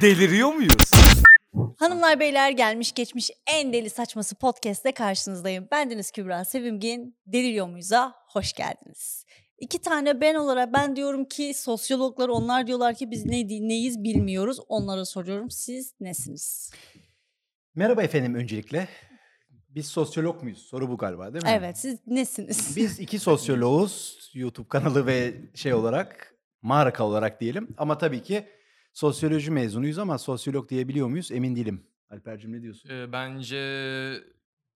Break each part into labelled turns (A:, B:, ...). A: Deliriyor muyuz?
B: Hanımlar beyler gelmiş geçmiş en deli saçması podcast'te karşınızdayım. Bendeniz Kübra Sevimgin. Deliriyor muyuz'a hoş geldiniz. İki tane ben olarak ben diyorum ki sosyologlar onlar diyorlar ki biz ne neyiz bilmiyoruz. Onlara soruyorum siz nesiniz?
C: Merhaba efendim öncelikle. Biz sosyolog muyuz? Soru bu galiba değil mi?
B: Evet siz nesiniz?
C: Biz iki sosyoloğuz YouTube kanalı ve şey olarak marka olarak diyelim. Ama tabii ki sosyoloji mezunuyuz ama sosyolog diyebiliyor muyuz emin değilim. Alper'cim ne diyorsun?
D: Ee, bence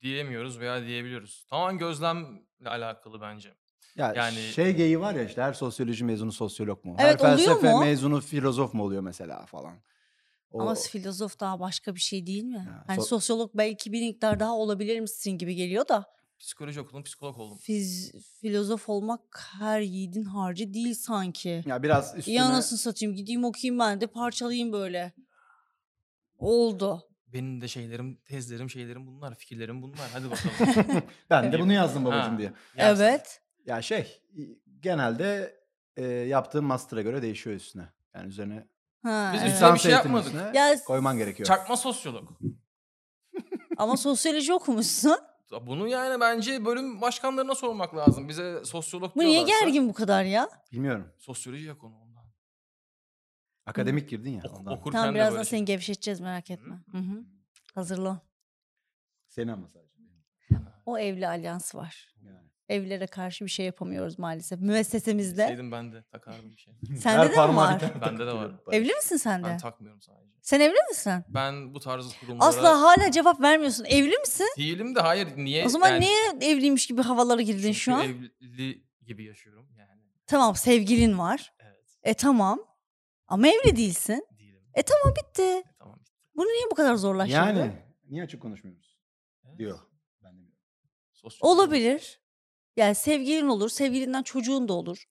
D: diyemiyoruz veya diyebiliyoruz. Tamamen gözlemle alakalı bence.
C: Ya
D: yani-
C: şey geyi var ya işte her sosyoloji mezunu sosyolog mu?
B: Evet,
C: her
B: oluyor
C: felsefe
B: mu?
C: mezunu filozof mu oluyor mesela falan. O,
B: Ama filozof daha başka bir şey değil mi?
C: Ha,
B: Hani
C: so-
B: sosyolog belki bir miktar daha olabilir misin gibi geliyor da
D: Psikoloji okudum, psikolog oldum.
B: fiz, filozof olmak her yiğidin harcı değil sanki.
C: ya biraz üstüne...
B: Ya anasını satayım gideyim okuyayım ben de parçalayayım böyle. Oldu.
D: Benim de şeylerim, tezlerim, şeylerim bunlar, fikirlerim bunlar. Hadi bakalım.
C: ben de bunu yazdım babacığım
D: Ha.
C: diye.
D: Yersin.
B: Evet.
C: Ya şey genelde e, yaptığın master'a göre değişiyor üstüne. Yani üzerine
B: Ha,
D: Biz
B: evet.
D: üstüne bir
C: lisans
D: şey
C: eğitim
D: yapmadık.
C: üstüne
B: Ya s-
C: koyman gerekiyor.
D: Çakma sosyolog.
B: Ama sosyoloji okumuşsun.
D: Bunu yani bence bölüm başkanlarına sormak lazım. Bize sosyolog
B: Bu niye
D: diyorlarsa-
B: gergin bu kadar ya?
C: Bilmiyorum.
D: Sosyoloji ya konu ondan.
C: Akademik girdin ya.
D: Oku-
C: ondan.
D: okurken
B: Tamam
D: de
B: birazdan
D: böyle
B: seni
D: şey.
B: gevşeteceğiz merak etme. Hı-hı. Hazırlan.
C: Seni ama sadece.
B: O evli alyans var.
C: Yani.
B: Evlilere karşı bir şey yapamıyoruz maalesef. Müessesemizde.
D: Bilseydim ben de takardım bir şey.
B: Sende de mi
C: parmağın
B: var?
C: tane
D: Bende de var.
C: takılıyor.
B: Evli misin sen de?
D: Ben takmıyorum sadece.
B: Sen evli misin?
D: Ben bu tarz kurumlara
B: Asla hala cevap vermiyorsun. Evli misin?
D: değilim de hayır niye?
B: O zaman
D: yani
B: niye evliymiş gibi havalara girdin
D: çünkü
B: şu an?
D: evli gibi yaşıyorum yani.
B: Tamam sevgilin var.
D: Evet
B: E tamam. Ama evli değilsin.
D: değilim.
B: E tamam bitti.
D: E, tamam bitti.
B: Bunu niye bu kadar zorlaştırdın?
C: Yani niye açık konuşmuyoruz?
D: Evet.
C: Diyor. Ben de bilmiyorum.
D: Sosyolog.
B: Olabilir. Yani sevgilin olur, sevgilinden çocuğun da olur.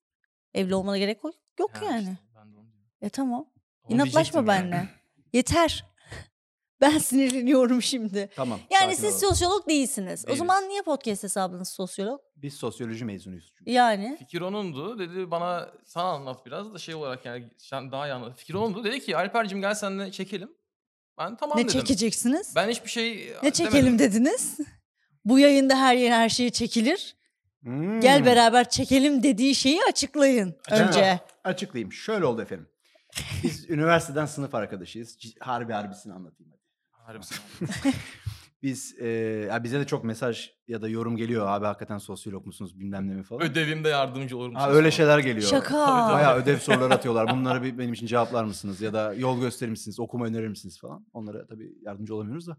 B: Evli olmana gerek yok yok
D: Ha,
B: yani.
D: işte, ben de onu diyorum. şey
B: E tamam.
D: Onu
B: İnatlaşma
D: diyecektim yani.
B: benimle. Yeter. Ben sinirleniyorum şimdi.
C: Tamam.
B: Yani
C: sakin
B: siz
C: olalım.
B: sosyolog değilsiniz. O
D: Değiliz.
B: zaman niye podcast hesabınız sosyolog?
C: Biz sosyoloji mezunuyuz. Çünkü.
B: Yani
D: Fikir onundu. Dedi bana sana anlat biraz da şey olarak yani sen daha iyi anlat. Fikir onundu. Dedi ki Alper'cim gel seninle çekelim. Ben tamam
B: ne
D: dedim.
B: çekeceksiniz?
D: Ben hiçbir şey
B: ne çekelim dediniz? Bu yayında her yer her şey çekilir.
C: Hmm.
B: Gel beraber çekelim dediği şeyi açıklayın
C: Açıkla.
B: önce.
C: Açıklayayım. Şöyle oldu efendim. Biz üniversiteden sınıf arkadaşıyız. C- Harbi harbisini anlatayım. hadi.
D: Harbi
C: Biz e, ya bize de çok mesaj ya da yorum geliyor. Abi hakikaten sosyolog musunuz bilmem ne mi falan.
D: Ödevimde yardımcı olur musun?
C: Ha, öyle şey- şeyler geliyor.
B: Şaka.
C: Bayağı ödev soruları atıyorlar. Bunlara bir benim için cevaplar mısınız? Ya da yol gösterir misiniz? Okuma önerir misiniz falan. Onlara tabii yardımcı olamıyoruz da.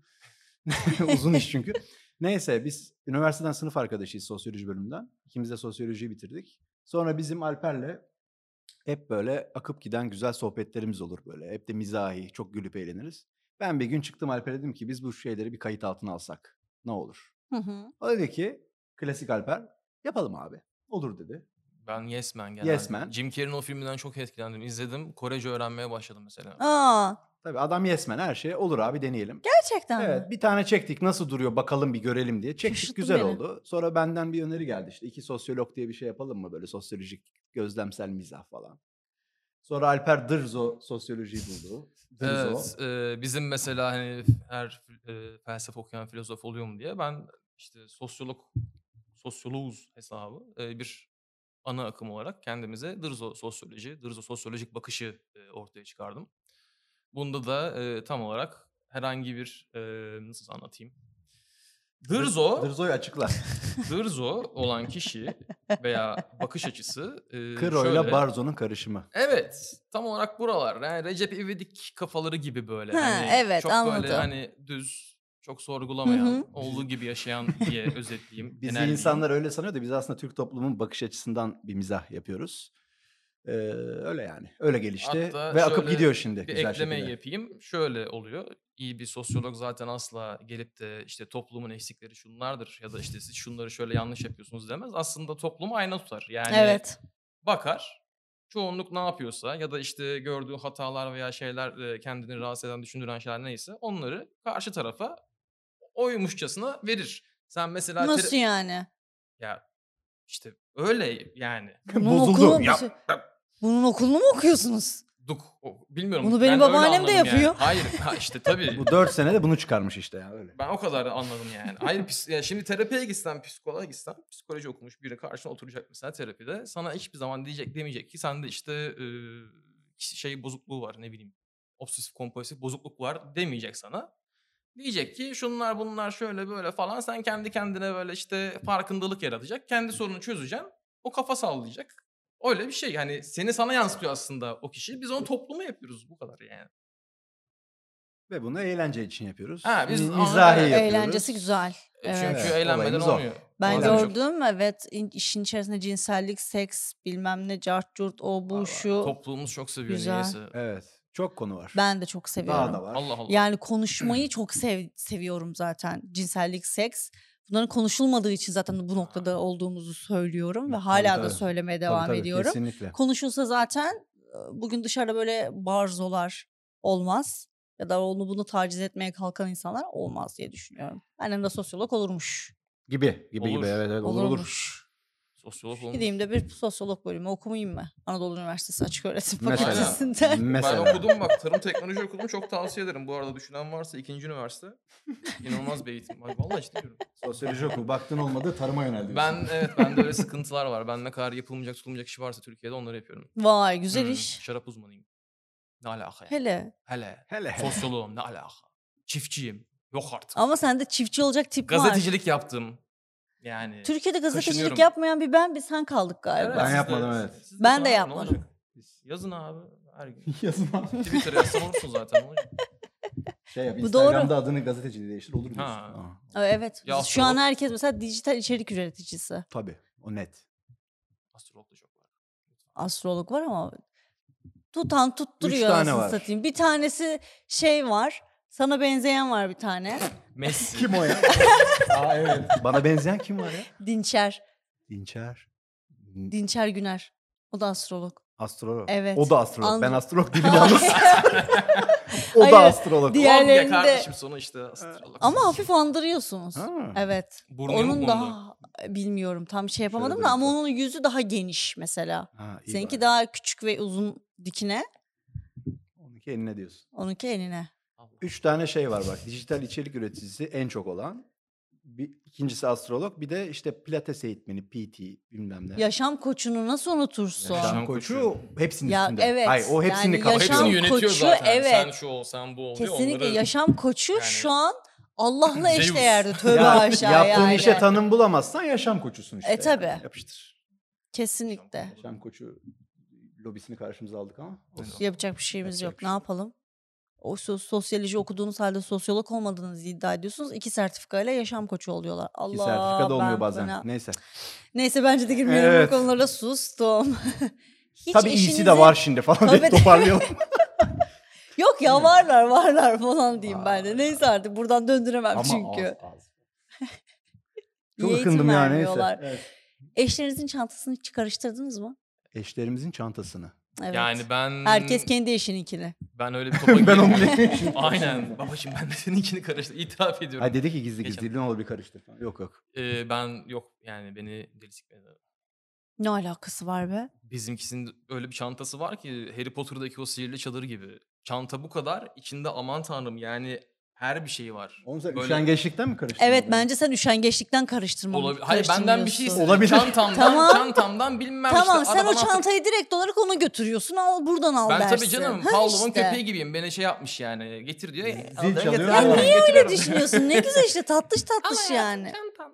C: Uzun iş çünkü. Neyse biz üniversiteden sınıf arkadaşıyız sosyoloji bölümünden. İkimiz de sosyolojiyi bitirdik. Sonra bizim Alper'le hep böyle akıp giden güzel sohbetlerimiz olur böyle. Hep de mizahi, çok gülüp eğleniriz. Ben bir gün çıktım Alper'e dedim ki biz bu şeyleri bir kayıt altına alsak ne olur?
B: Hı hı.
C: O dedi ki klasik Alper yapalım abi. Olur dedi.
D: Ben Yes Man genelde.
C: Yes Man.
D: Jim Carrey'in o filminden çok etkilendim. İzledim. Korece öğrenmeye başladım mesela.
B: Aa,
C: Tabii adam yesmen her şeye olur abi deneyelim.
B: gerçekten mi?
C: Evet bir tane çektik nasıl duruyor bakalım bir görelim diye. Çektik
B: Şaşırttın
C: güzel
B: beni.
C: oldu. Sonra benden bir öneri geldi işte iki sosyolog diye bir şey yapalım mı böyle sosyolojik gözlemsel mizah falan. Sonra Alper Dırzo sosyolojiyi buldu. Dırzo.
D: Evet, e, bizim mesela hani her e, felsefe okuyan filozof oluyor mu diye ben işte sosyolog sosyoloğuz hesabı e, bir ana akım olarak kendimize dırzo sosyoloji, dırzo sosyolojik bakışı e, ortaya çıkardım. Bunda da e, tam olarak herhangi bir e, nasıl anlatayım? Dırzo,
C: Dırzo'yu açıkla.
D: dırzo olan kişi veya bakış açısı e,
C: Kro ile
D: şöyle.
C: Barzo'nun karışımı.
D: Evet. Tam olarak buralar. Yani Recep İvedik kafaları gibi böyle.
B: Ha,
D: hani
B: evet,
D: Çok böyle
B: anladım.
D: hani düz, çok sorgulamayan,
B: Hı hı.
D: olduğu gibi yaşayan diye özetleyeyim.
C: Bizi
D: genelleyeyim.
C: insanlar öyle sanıyor da biz aslında Türk toplumunun bakış açısından bir mizah yapıyoruz. Ee, öyle yani. Öyle gelişti.
D: Hatta
C: Ve akıp
D: şöyle
C: gidiyor şimdi.
D: bir
C: güzel
D: ekleme
C: şekilde.
D: yapayım. Şöyle oluyor. İyi bir sosyolog zaten asla gelip de işte toplumun eksikleri şunlardır ya da işte siz şunları şöyle yanlış yapıyorsunuz demez. Aslında toplumu ayna tutar. Yani
B: Evet.
D: bakar. Çoğunluk ne yapıyorsa ya da işte gördüğü hatalar veya şeyler e, kendini rahatsız eden, düşündüren şeyler neyse onları karşı tarafa oymuşçasına verir. Sen mesela tere-
B: Nasıl yani?
D: ya işte öyle yani.
B: Bunun
C: Bozuldu.
B: okulunu-
C: Yap,
B: Bunun okulunu mu okuyorsunuz?
D: Duk o- bilmiyorum.
B: Bunu
D: ben
B: benim
D: öyle
B: babaannem de
D: anladım yani.
B: yapıyor.
D: Hayır ha işte tabii.
C: Bu 4 senede bunu çıkarmış işte ya öyle.
D: Ben o kadar anladım yani. Hayır pis- ya şimdi terapiye gitsen, psikoloğa gitsen, psikoloji okumuş biri karşına oturacak mesela terapide. Sana hiçbir zaman diyecek demeyecek ki sende işte e, kişi- şey bozukluğu var ne bileyim. Obsesif kompulsif bozukluk var demeyecek sana. Diyecek ki şunlar bunlar şöyle böyle falan. Sen kendi kendine böyle işte farkındalık yaratacak. Kendi sorunu çözeceksin. O kafa sallayacak. Öyle bir şey. Hani seni sana yansıtıyor aslında o kişi. Biz onu topluma yapıyoruz bu kadar yani.
C: Ve bunu eğlence için yapıyoruz.
D: Ha, biz-
C: Mi-
D: Aa,
C: Mizahi
D: evet.
C: yapıyoruz.
B: Hani Eğlencesi güzel.
D: E, Çünkü
C: Evet,
D: eğlenmeden
C: olayımız o.
D: olmuyor.
B: Ben
D: Bazen çok-
B: gördüm evet in- işin içerisinde cinsellik, seks, bilmem ne, cart curt, o bu
D: Vallahi
B: şu.
D: Toplumumuz çok seviyor
B: Güzel.
D: niyeyse.
C: Evet. Çok konu var.
B: Ben de çok seviyorum.
C: Daha da var.
D: Allah Allah.
B: Yani konuşmayı çok sev- seviyorum zaten. Cinsellik, seks. Bunların konuşulmadığı için zaten bu noktada olduğumuzu söylüyorum ve
C: Tabii,
B: hala da
C: tabii.
B: söylemeye
C: Tabii,
B: devam
C: tabii,
B: ediyorum.
C: Kesinlikle.
B: Konuşulsa zaten e, bugün dışarıda böyle barzolar olmaz ya da onu bunu taciz etmeye kalkan insanlar olmaz diye düşünüyorum. Annem de sosyolog olurmuş.
C: Gibi. Gibi
D: Olur.
C: gibi. Evet evet olur olur.
B: Olurmuş.
D: Sosyolog olmuş.
B: Gideyim de bir sosyolog bölümü okumayım mı? Anadolu Üniversitesi Açık Öğretim
C: Mesela.
B: Fakültesinden.
C: Mesela.
D: Ben okudum bak tarım teknoloji okudum çok tavsiye ederim. Bu arada düşünen varsa ikinci üniversite inanılmaz bir eğitim. Ay, vallahi ciddi diyorum.
C: Sosyoloji oku. Baktın olmadı tarıma yöneldi.
D: Ben evet bende öyle sıkıntılar var. Ben ne kadar yapılmayacak tutulmayacak işi varsa Türkiye'de onları yapıyorum.
B: Vay güzel
D: Hmm,
B: iş.
D: Şarap uzmanıyım. Ne alaka ya?
B: Hele.
D: Hele.
C: Hele hele.
D: Sosyoloğum ne alaka? Çiftçiyim. Yok artık.
B: Ama sende çiftçi olacak tip var.
D: Gazetecilik yaptım. Yani.
B: Türkiye'de gazetecilik
D: Kaşınıyorum.
B: yapmayan bir ben bir sen kaldık galiba.
D: Evet,
C: Ben
D: siz de-
C: yapmadım, evet.
D: siz
B: Ben
D: yapın
B: de
D: abi, ne
B: yapmadım.
D: olacak? Yazın abi her gün.
C: Yazın abi.
D: Twitter yazsam olursun zaten. ne olacak?
C: Şey yap,
B: Bu
C: Instagram'da adını gazeteciliği değiştir olur diyorsun.
D: Ha.
C: Aa,
B: Aa, Evet.
D: Ya
B: biz- şu an
D: astrolog-
B: herkes mesela dijital içerik üreticisi.
C: Tabii o net.
D: Astrolog da çok var.
B: Astrolog var ama tutan tutturuyor
C: tane
B: anasını
C: var.
B: satayım. Bir tanesi şey var. Sana benzeyen var bir tane.
D: Messi.
C: Kim o ya? Aa evet. Bana benzeyen kim var ya?
B: Dinçer.
C: Dinçer.
B: Dinçer Güner. O da astrolog.
C: Astrolog.
B: Evet.
C: O da astrolog.
B: An-
C: Ben astrolog değilim yalnız. O da
B: Hayır,
C: astrolog.
B: diğer-
D: Kolombiya
B: Diğerlerinde-
D: kardeşim sonu işte astrolog.
B: ama hafif andırıyorsunuz.
C: Ha.
B: Evet.
D: Burnu yok mu
B: onun
D: onda?
B: daha bilmiyorum tam şey yapamadım
C: Şöyle
B: da
C: bir
B: ama
C: bakayım.
B: onun yüzü daha geniş mesela.
C: Ha, iyi
B: Seninki
C: bari.
B: daha küçük ve uzun dikine.
C: Onunki eline diyorsun.
B: Onunki eline.
D: Allah.
C: Üç tane şey var bak. Dijital içerik üreticisi en çok olan. Bir, ikincisi astrolog. Bir de işte pilates eğitmeni PT bilmem ne.
B: Yaşam koçunu nasıl unutursun?
D: Yaşam
C: Yaşam koçu hepsinin
B: Ya,
C: üstünde.
B: evet.
C: Hayır o hepsini
B: Yani
C: yani
B: yaşam-
D: Hepsini yönetiyor
B: koçu,
D: zaten. Sen
B: evet.
D: şu ol, sen bu ol diyor.
B: Kesinlikle
D: Onları-
B: yaşam koçu
D: Yani-
B: şu an Allah'la
D: Zeus.
B: eşdeğerdi tövbe
C: Ya,
B: aşağı yani.
C: yaptığın işe tanım bulamazsan yaşam koçusun işte.
B: E, tabii.
C: Yani Yapıştır.
B: Kesinlikle.
C: Yaşam koçu lobisini karşımıza aldık ama.
D: Olsun.
B: Yapacak bir şeyimiz
C: Yapacak
B: yok.
C: bir
B: Ne
C: şey
B: yapalım? O so- sosyoloji okuduğunuz halde sosyolog olmadığınızı iddia ediyorsunuz. İki sertifikayla yaşam koçu oluyorlar. Allah
C: Ki sertifikada olmuyor
B: ben
C: bazen.
B: fena-
C: Neyse.
B: Neyse bence de girmeyelim
C: Evet.
B: bu konulara sustum. Hiç
C: Tabii iyisi de
B: eşinizi-
C: var şimdi falan diye
B: Tabii de-
C: toparlayalım.
B: Yok ya varlar varlar falan diyeyim ben de.
C: Var.
B: Neyse artık buradan döndüremem çünkü.
C: az, az.
B: İyi
C: Çok
B: eğitim
C: ıkındım ya neyse.
B: vermiyorlar.
C: Evet.
B: Eşlerinizin çantasını hiç karıştırdınız mı?
C: Eşlerimizin çantasını.
B: Evet.
D: Yani ben...
B: Herkes kendi eşininkini.
D: Ben öyle bir topa
C: ben onu
D: girmedim.
C: ne-
D: Aynen. Babacım ben de senin içini karıştı. İtiraf ediyorum.
C: Ay dedi ki gizli
D: Geçen-
C: gizli ne olur bir karıştır falan. Yok yok.
D: Ee, ben yok yani beni deli sikmedi.
B: Ne alakası var be?
D: Bizimkisinin öyle bir çantası var ki Harry Potter'daki o sihirli çadır gibi. Çanta bu kadar. içinde aman tanrım yani her bir şey var.
C: Oğlum sen
D: Böyle-
C: üşengeçlikten mi karıştırdın?
B: Evet
C: adamı?
B: bence sen üşengeçlikten karıştırma.
D: Olabilir. Hayır benden bir şey
B: karıştırmıyorsun.
D: istedim.
C: Olabilir.
D: Çantamdan,
B: Tamam.
D: çantamdan bilmem işte.
B: Tamam sen o
D: arabadan satın-
B: çantayı direkt olarak ona götürüyorsun. Al buradan al
D: Ben
B: dersin.
D: tabii canım
B: Ha
D: Pavlov'un
B: işte.
D: köpeği gibiyim. Beni şey yapmış yani. Getir diyor.
C: Zil
D: "Al diyorum,
C: çalıyor,
D: getir
C: Ya
D: diyorum,
C: niye
B: Öyle
D: getiriyorum."
B: düşünüyorsun. Ne güzel işte tatlış tatlış
D: Al hayatım,
B: yani.
D: çantam.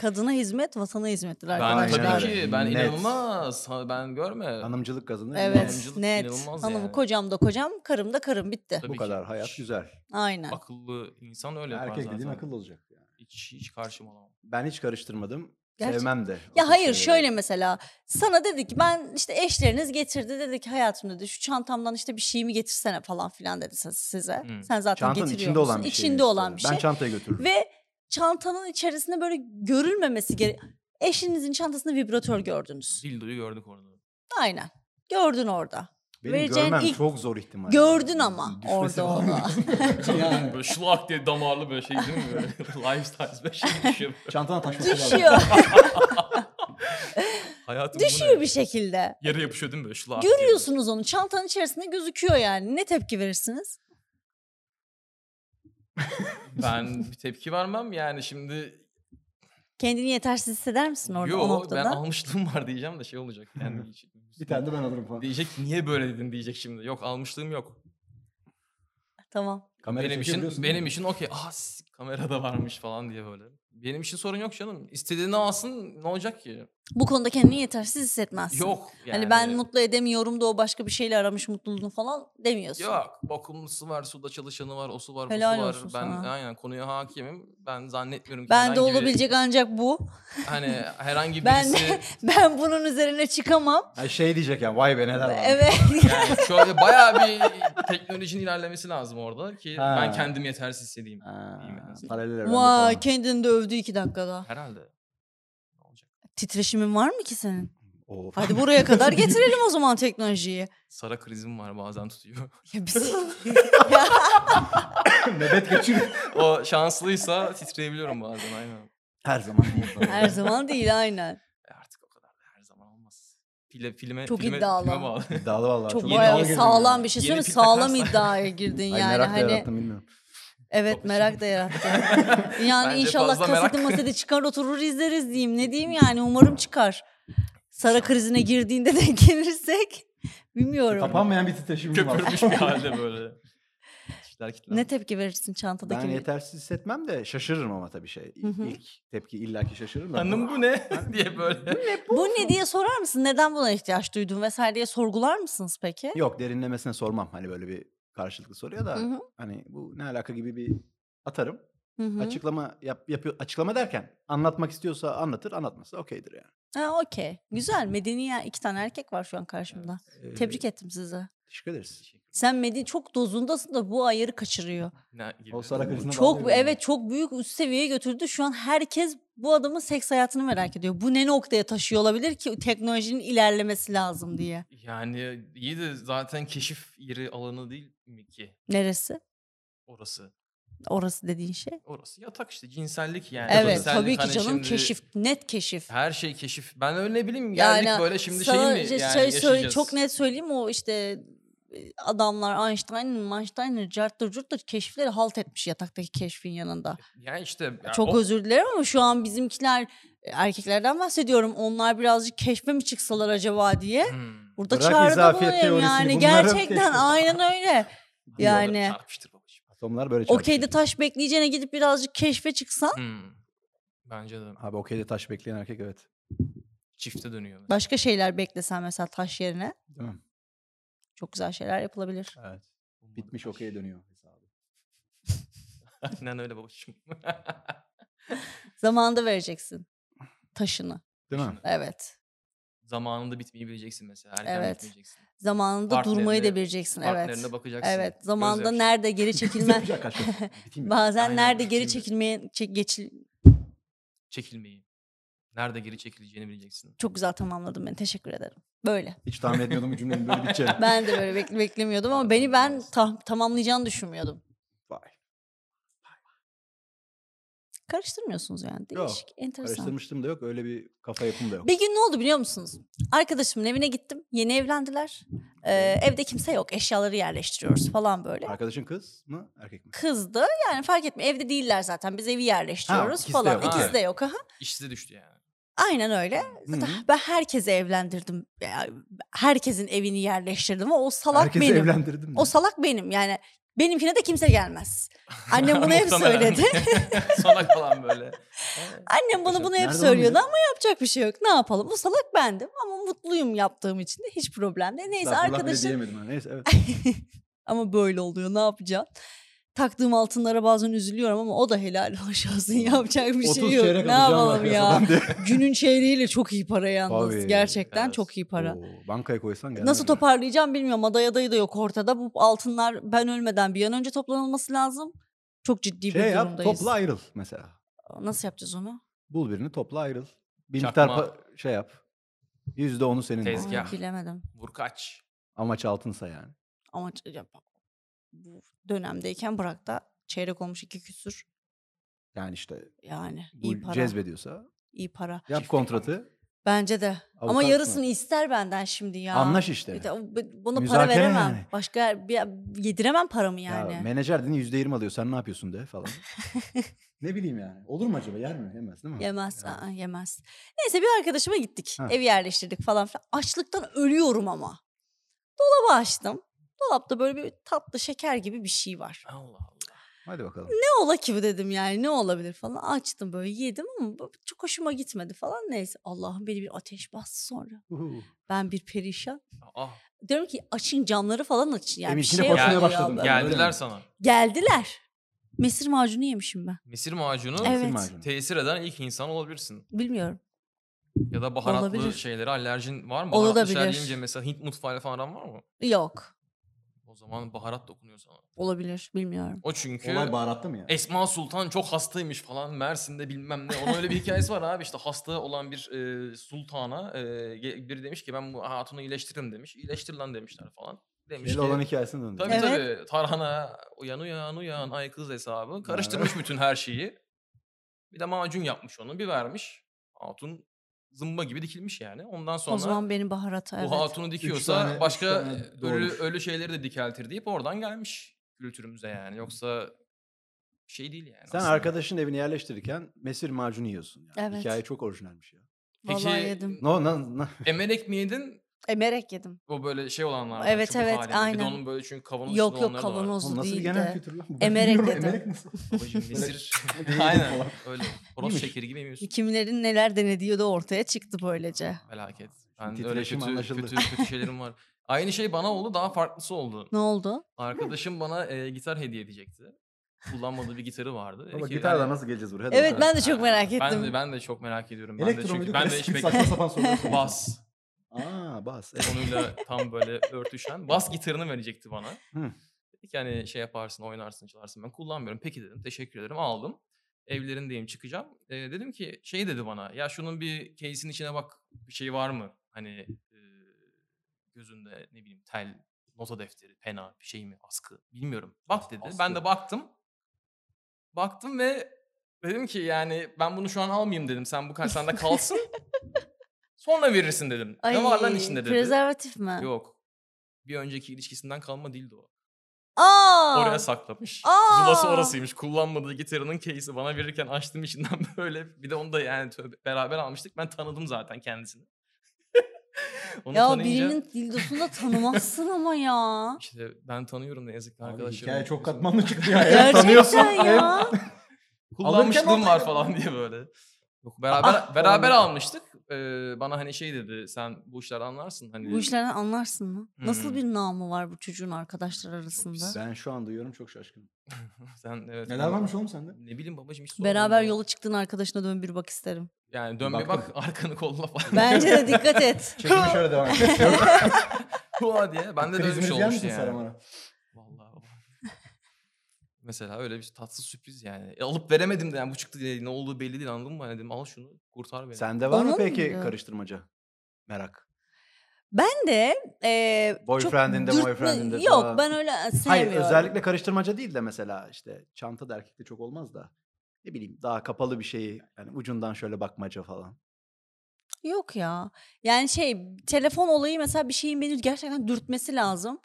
B: Kadına hizmet, vatana hizmettir
D: Ben
B: arkadaşlar.
C: Aynen
D: tabii
C: öyle.
D: ki ben
C: Net.
D: inanılmaz. Ha, Ben görme.
C: Hanımcılık kazanır.
B: Evet,
D: Hanımcılık
B: net.
D: inanılmaz
B: Hanımı
D: yani.
B: kocam da kocam, karım da karım bitti.
D: Tabii
C: Bu
D: ki.
C: kadar hayat güzel.
B: Aynen.
D: Akıllı insan öyle yapar
C: Erkek dediğin
D: zaten.
C: akıllı olacak. yani.
D: Hiç, hiç karşıma alamam.
C: Ben hiç karıştırmadım.
B: Gerçi-
C: Sevmem de. O tür
B: Ya hayır
C: şeyleri.
B: şöyle mesela sana dedik ben işte eşleriniz getirdi dedi ki hayatım dedi şu çantamdan işte bir şeyimi getirsene falan filan dedi siz- size.
D: Hmm.
B: Sen zaten
C: Çantanın
B: getiriyor
C: içinde
B: musun?
C: olan bir şey.
B: İçinde olan bir şey.
C: Ben çantaya götürürüm.
B: Ve çantanın içerisinde böyle görülmemesi gerek. Eşinizin çantasında vibratör gördünüz.
D: Dildo'yu gördük orada.
B: Aynen. Gördün orada.
C: Benim
B: vereceğin
C: görmem
B: ilk-
C: çok zor ihtimal.
B: Gördün ama
C: Düşmesi
B: orada
C: falan.
B: orada.
C: yani.
D: Böyle şlak diye damarlı böyle şey değil mi? Böyle lifestyle böyle şey düşüyor.
C: Çantana taşması lazım.
B: Düşüyor.
D: Hayatım bu ne?
B: Düşüyor bir şey. şekilde.
D: Yere yapışıyor değil mi böyle şlak diye böyle?
B: Görüyorsunuz onu. Çantanın içerisinde gözüküyor yani. Ne tepki verirsiniz?
D: Ben bir tepki vermem yani şimdi
B: Kendini yetersiz hisseder misin orada o
D: yo ben
B: noktada?
D: almışlığım var diyeceğim de şey olacak. Yani
C: Bir tane de ben alırım falan.
D: Diyecek niye böyle dedin diyecek şimdi. Yok almışlığım yok.
B: Tamam.
C: Kamera
D: benim
C: çekebiliyorsun
D: için
C: değil mi?
D: benim için okey. Aa s- kamerada varmış falan diye böyle. Benim için sorun yok canım. İstediğini alsın ne olacak ki?
B: Bu konuda kendini yetersiz hissetmezsin.
D: Yok yani.
B: Hani ben mutlu edemiyorum da o başka bir şeyle aramış mutluluğunu falan demiyorsun.
D: Yok bakımlısı var, suda çalışanı var, osu var,
B: Helal
D: busu var.
B: olsun
D: Ben
B: sana.
D: aynen konuya hakimim. Ben zannetmiyorum ki
B: Ben de
D: herhangi bir-
B: olabilecek ancak bu.
D: Hani herhangi
B: Ben-
D: birisi
B: Ben bunun üzerine çıkamam.
C: Ha, şey diyecek yani vay be neler var.
B: Evet.
D: yani şöyle bayağı bir teknolojinin ilerlemesi lazım orada ki
C: Ha.
D: ben kendim yetersiz hissedeyim.
C: Ha,
D: İyiyim en azından.
C: paralel evrende
B: Vay
C: falan.
B: kendini de övdü iki dakikada.
D: Herhalde. Ne olacak?
B: Titreşimin var mı ki senin?
C: Oo.
B: Hadi buraya kadar getirelim o zaman teknolojiyi.
D: Sara krizim var bazen tutuyor.
B: Ya biz...
C: Nöbet geçiriyor.
D: o şanslıysa titreyebiliyorum bazen aynen.
C: Her zaman.
B: Her zaman değil aynen.
D: E artık o kadar da her zaman olmaz. Pile, filme,
B: Çok
D: filme,
B: iddialı.
D: filme bağlı.
C: İddialı vallahi.
B: Çok
D: yeni
B: bayağı
D: algı
B: sağlam bir şey
D: Yeni
B: söyleyeyim mi?
D: pil
B: Sağlam
D: takarsan.
B: iddiaya girdin
C: Ay,
B: yani.
C: merak da
B: hani
C: yarattım bilmiyorum.
B: Evet
D: Babacığım.
B: merak da yarattı.
D: Bence
B: Yani inşallah
D: fazla merak.
B: kaseti maseti çıkar oturur izleriz diyeyim. Ne diyeyim yani umarım çıkar. Sara krizine girdiğinde de gelirsek bilmiyorum.
C: Kapanmayan bir titreşim var.
D: Köpürmüş bir halde böyle. İşler kitlenmiş.
B: Ne tepki verirsin çantadaki?
C: Ben yetersiz hissetmem de şaşırırım ama tabii şey.
B: Hı hı.
C: İlk tepki illaki şaşırırım. da.
D: Hanım bu ne diye böyle.
B: bu ne diye sorar mısın? Neden buna ihtiyaç duydun vesaire diye sorgular mısınız peki?
C: Yok derinlemesine sormam. Hani böyle bir karşılıklı soruyor da
B: Hı hı.
C: hani bu ne alaka gibi bir atarım.
B: Hı hı.
C: Açıklama yap, yapıyor. Açıklama derken anlatmak istiyorsa anlatır, anlatmasa okeydir yani.
B: Ha okey. Güzel. Medeni ya iki tane erkek var şu an karşımda.
C: Ee,
B: Tebrik ettim sizi.
C: Teşekkür ederiz.
B: Sen medeni çok dozundasın da bu ayarı kaçırıyor.
D: Ne gibi.
C: O Sara krizine
B: Çok
C: bağlıyorum.
B: evet çok büyük üst seviyeye götürdü. Şu an herkes bu adamın seks hayatını merak ediyor. Bu ne noktaya taşıyor olabilir ki teknolojinin ilerlemesi lazım diye.
D: Yani iyi de zaten keşif yeri alanı değil mi ki
B: Neresi?
D: orası?
B: Orası dediğin şey.
D: Orası yatak işte cinsellik yani.
B: Evet
D: Cinsellik
B: tabii ki
D: hani
B: canım
D: şimdi
B: keşif net keşif.
D: Her şey keşif. Ben öyle ne bileyim geldik böyle şimdi şey mi
B: sana
D: yani
B: şey- şey söyle-
D: yaşayacağız.
B: çok net söyleyeyim o işte e, adamlar Einstein, Einstein, carttır curttur keşifleri halt etmiş yataktaki keşfin yanında.
D: Yani işte E, ya
B: Çok
D: o-
B: özür dilerim ama şu an bizimkiler e, erkeklerden bahsediyorum. Onlar birazcık keşfe mi çıksalar acaba diye.
D: Hmm.
B: Burada
C: Bırak
B: çağrıda
C: izafiyet
B: bulunayım
C: teorisini,
B: yani.
C: bunların
B: Gerçekten
C: keşfi.
B: aynen öyle.
D: Diyorlar,
B: Yani
D: çarpıştır babacığım.
C: Atomlar böyle çarpışıyor.
B: okeyde taş bekleyeceğine gidip birazcık keşfe çıksan
D: Hmm. Bence de
C: Abi okeyde taş bekleyen erkek evet.
D: çifte dönüyor. mesela.
B: başka şeyler beklesen mesela taş yerine
C: Değil mi?
B: çok güzel şeyler yapılabilir.
C: Evet. Bitmiş okeye dönüyor hesabı.
D: Aynen öyle babacığım.
B: Zamanında vereceksin taşını.
C: Değil mi?
B: Evet.
D: Zamanında bitmeyi bileceksin mesela. Erken
B: Evet.
D: bitmeyeceksin.
B: Zamanında durmayı da
D: Partnerine-
B: bileceksin. Evet.
D: Partnerine bakacaksın.
B: Evet. Zamanında
D: gözyaşı.
B: nerede geri çekilme
C: Yapacak kaç kere. Biteyim mi?
B: bazen
D: Aynen,
B: nerede geri
D: şimdi-
B: çekilmeye çek- geçil
D: Çekilmeyi. Nerede geri çekileceğini bileceksin.
B: çok güzel tamamladım ben. Teşekkür ederim. Böyle.
C: Hiç tahmin etmiyordum bu cümlenin böyle biteceğini.
B: Ben de böyle bekle- beklemiyordum ama beni ben tam- tamamlayacağını düşünmüyordum.
C: Vay.
B: Karıştırmıyorsunuz yani.
C: Yok,
B: Değişik, enteresan.
C: Karıştırmıştım da yok. Öyle bir kafa yapım da yok.
B: Bir gün ne oldu biliyor musunuz? Arkadaşımın evine gittim. Yeni evlendiler. Ee, evde kimse yok. Eşyaları yerleştiriyoruz falan böyle.
C: Arkadaşın kız mı erkek mi?
B: Kızdı. Yani fark etme. Evde değiller zaten. Biz evi
C: Ha,
B: yerleştiriyoruz
C: ikisi de
B: falan.
C: yok.
B: İkisi
D: Ha.
B: de yok. Aha.
D: İşte düştü yani.
B: Aynen öyle. Zaten ben herkese evlendirdim. Ya, Herkesin evini yerleştirdim. O salak
C: Herkesi
B: benim.
C: evlendirdim.
B: O salak benim. Yani benimkine de kimse gelmez. Annem bunu hep
D: Muhtemelen.
B: söyledi.
D: Salak falan böyle. E,
B: Annem bana bunu hep
C: Nereden
B: söylüyordu
C: anladın?
B: ama yapacak bir şey yok. Ne yapalım? Bu salak bendim ama mutluyum yaptığım için de hiç problem değil. Neyse
C: Estağfurullah bile
B: arkadaşım
C: diyemedim ha. Neyse evet.
B: ama böyle oluyor ne yapacaksın? Taktığım altınlara bazen üzülüyorum ama o da helal hoş olsun yapacak bir
C: 30
B: şey yok.
C: çeyrek
B: Ne
C: alacağım
B: yapalım
C: var
B: ya?
C: piyasadan diye.
B: Günün çeyreğiyle çok iyi para yalnız.
C: Tabii,
B: Gerçekten
D: evet.
B: çok iyi para.
C: Oo, bankaya koysan gelmez.
B: Nasıl toparlayacağım bilmiyorum. Aday adayı da yok ortada. Bu altınlar ben ölmeden bir an önce toplanılması lazım. Çok ciddi
C: Şey
B: bir
C: yap
B: durumdayız.
C: topla ayrıl mesela.
B: Nasıl yapacağız onu?
C: Bul birini topla ayrıl. Bir
D: Çakma.
C: miktar pa- şey yap. Yüzde onu senin.
B: Ay,
D: Tezgah.
B: bilemedim.
D: Vurkaç.
C: Amaç altınsa yani.
B: Ama ç- ya bu- bu dönemdeyken bırak da çeyrek olmuş iki küsür.
C: Yani işte
B: Yani iyi
C: bu
B: para.
C: cezbediyorsa
B: iyi para.
C: yap
D: Çiftlik
C: kontratı.
B: Bence de. Ama
C: Avukat mı?
B: yarısını ister benden şimdi ya.
C: Anlaş işte.
B: Bir de o- b- Buna para
C: Müzakere
B: veremem.
C: yani.
B: Başka bir, yediremem paramı yani.
C: Ya, menajer dedin yüzde yirmi alıyor. Sen ne yapıyorsun de falan. ne bileyim yani. Olur mu acaba? Yer mi? Yemez değil mi?
B: Yemez,
C: Yani.
B: aa, yemez. Neyse bir arkadaşıma gittik.
C: Ha.
B: Ev yerleştirdik falan filan. Açlıktan ölüyorum ama. Dolabı açtım. Dolapta böyle bir tatlı şeker gibi bir şey var.
D: Allah Allah.
C: Hadi bakalım.
B: Ne ola ki bu dedim yani ne olabilir falan. Açtım böyle yedim ama bu- çok hoşuma gitmedi falan. Neyse Allah'ım beni bir ateş bastı sonra.
C: Uhu.
B: Ben bir perişan.
D: Ah,
B: Diyorum ki açın camları falan açın. Yani bir
C: Emin, yine
B: şey
C: koşmaya
B: oluyor
C: başladım.
B: abla.
C: Gel- öyle
D: geldiler
C: mi?
D: sana.
B: Geldiler. Mesir macunu yemişim ben.
D: Mesir macunu
B: Evet.
C: Mısır macunu.
D: tesir eden ilk insan olabilirsin.
B: Bilmiyorum.
D: Ya da baharatlı
B: Olabilir.
D: şeylere alerjin var mı?
B: Olabilir.
D: Baharatlı şeyler yiyince mesela Hint mutfağıyla falan aran var mı?
B: Yok.
D: O zaman baharat dokunuyor sana.
B: Olabilir. Bilmiyorum.
D: O çünkü
C: Olay baharatta mı yani?
D: Esma Sultan çok hastaymış falan Mersin'de bilmem ne. Onun öyle bir hikayesi var abi işte hasta olan bir e, sultana e, ge- biri demiş ki ben bu hatunu iyileştiririm demiş. İyileştir lan demişler falan. Demiş
C: Belli
D: ki
C: olan hikayesini döndü.
D: tabii
B: Evet.
D: tabii tarhana uyan uyan uyan ay kız hesabı. Karıştırmış bütün her şeyi. Bir de macun yapmış onu bir vermiş. Hatun zımba gibi dikilmiş yani. Ondan sonra
B: O zaman benim baharata
D: bu
B: evet.
D: hatunu dikiyorsa
C: tane- üç
D: başka
C: tane
D: ölü,
C: doğurmuş.
D: ölü şeyleri de dikeltir deyip oradan gelmiş kültürümüze yani. Yoksa bir şey değil yani.
C: Sen
D: aslında.
C: arkadaşın evini yerleştirirken mesir macunu yiyorsun. Yani.
B: Evet.
C: Hikaye çok orijinalmiş ya.
B: Vallahi yedim.
C: No, no, no.
D: Emerek mi yedin?
B: Emerek E, yedim.
D: O böyle şey olanlar. var,
B: Evet,
D: çubuk
B: evet,
D: halinde. Bir de
B: aynen.
D: onun böyle çünkü kavanoz
B: Yok
D: içinde
B: yok
D: onları da var.
B: kavanozlu
C: Oğlum nasıl bir
B: değil
C: genel
B: de.
C: kültür lan? bu?
B: Emerek
C: Bilmiyorum,
B: yedim.
C: Emerek nasıl?
D: Babacım
C: Böyle
D: mesir.
C: Ne yedim
D: aynen.
C: falan.
D: Öyle. Horoz
C: İyiymiş.
D: şekeri gibi yemiyorsun.
B: Kimlerin neler denediği de ortaya çıktı böylece.
D: Felaket. Ben öyle
C: titreşim
D: kötü,
C: anlaşıldı.
D: kötü, kötü şeylerim var. Aynı şey bana oldu daha farklısı oldu.
B: Ne oldu?
D: Arkadaşım bana e, gitar hediye edecekti. Kullanmadığı bir gitarı vardı. Dedi
C: Ama
D: ki,
C: gitarla
D: hani-
C: nasıl geleceğiz buraya? Hadi
B: Evet,
C: bakalım.
B: ben de çok merak ettim.
D: Ben de, ben de çok merak ediyorum. Ben de
C: Elektro
D: çünkü
C: muydu?
D: ben de hiç
C: klasik mi? Saçma
D: beklemiyordum.
C: sapan sorular soruyor.
D: Bas
C: Aa bas. Evet.
D: konuyla tam böyle örtüşen bas gitarını verecekti bana.
C: Hı.
D: Dedik yani şey yaparsın, oynarsın, çalarsın. Ben kullanmıyorum. Peki dedim. Teşekkür ederim. Aldım. Evlerindeyim, çıkacağım. Ee, dedim ki şey dedi bana. Ya şunun bir case'in içine bak bir şey var mı? Hani e, gözünde ne bileyim tel, nota defteri, pena, bir şey mi, askı bilmiyorum. Bak dedi. Ben de
C: Askı.
D: baktım. Baktım ve dedim ki yani ben bunu şu an almayayım dedim. Sen bu kar sende kalsın. Sonra verirsin dedim. ne var lan içinde dedi.
B: Prezervatif mi?
D: Yok. Bir önceki ilişkisinden kalma değildi o.
B: Aa!
D: Oraya saklamış.
B: Aa!
D: Zulası orasıymış. Kullanmadığı gitarının case'i bana verirken açtım içinden böyle. Bir de onu da yani tövbe- beraber almıştık. Ben tanıdım zaten kendisini. onu
B: ya
D: tanıyınca
B: birinin dildosunu da tanımazsın ama ya.
D: işte ben tanıyorum ne yazık ki
C: Abi,
D: arkadaşlarım.
C: hikaye çok katmanlı çıktı ya. Evet, tanıyorsun.
B: Gerçekten
C: Evet.
B: ya.
D: Kullanmışlığım
C: ortaya
D: var falan diye böyle. Yok, beraber
C: Ah!
D: beraber
C: Falan.
D: almıştık. Ee, bana hani şey dedi sen bu işleri anlarsın hani.
B: Bu işlerden anlarsın mı? Nasıl
D: Hmm.
B: bir namı var bu çocuğun arkadaşlar arasında?
C: Ben şu an duyuyorum çok şaşkınım.
D: sen evet.
C: Neler varmış oğlum sende?
D: Ne bileyim babacığım hiç sormadım
B: Beraber
D: ya.
B: yola çıktığın arkadaşına dön bir bak isterim.
D: Yani dön bir bak
C: Baktım.
D: arkanı kolla falan.
B: Bence de dikkat et.
C: Çekimi şöyle devam et.
D: Hua diye. Ben de öyle bir şey
C: Krizimiz yer
D: olmuştu
C: misin
D: yani.
C: Saraman'a?
D: Vallahi baba. Mesela öyle bir tatsız sürpriz yani. E, alıp veremedim de yani bu çıktı diye ne olduğu belli değil anladın mı? Hani dedim al şunu kurtar beni.
C: Sende var mı
B: Onun
C: peki
B: muydu?
C: karıştırmaca? Merak.
B: Ben de e, çok
C: Boyfriend'inde,
B: dürtme-
C: boyfriend'inde
B: Yok
C: falan.
B: ben öyle sevmiyorum.
C: Hayır özellikle karıştırmaca değil de mesela işte çanta da erkekte çok olmaz da ne bileyim daha kapalı bir şeyi yani ucundan şöyle bakmaca falan.
B: Yok ya. Yani şey telefon olayı mesela bir şeyin beni gerçekten dürtmesi lazım.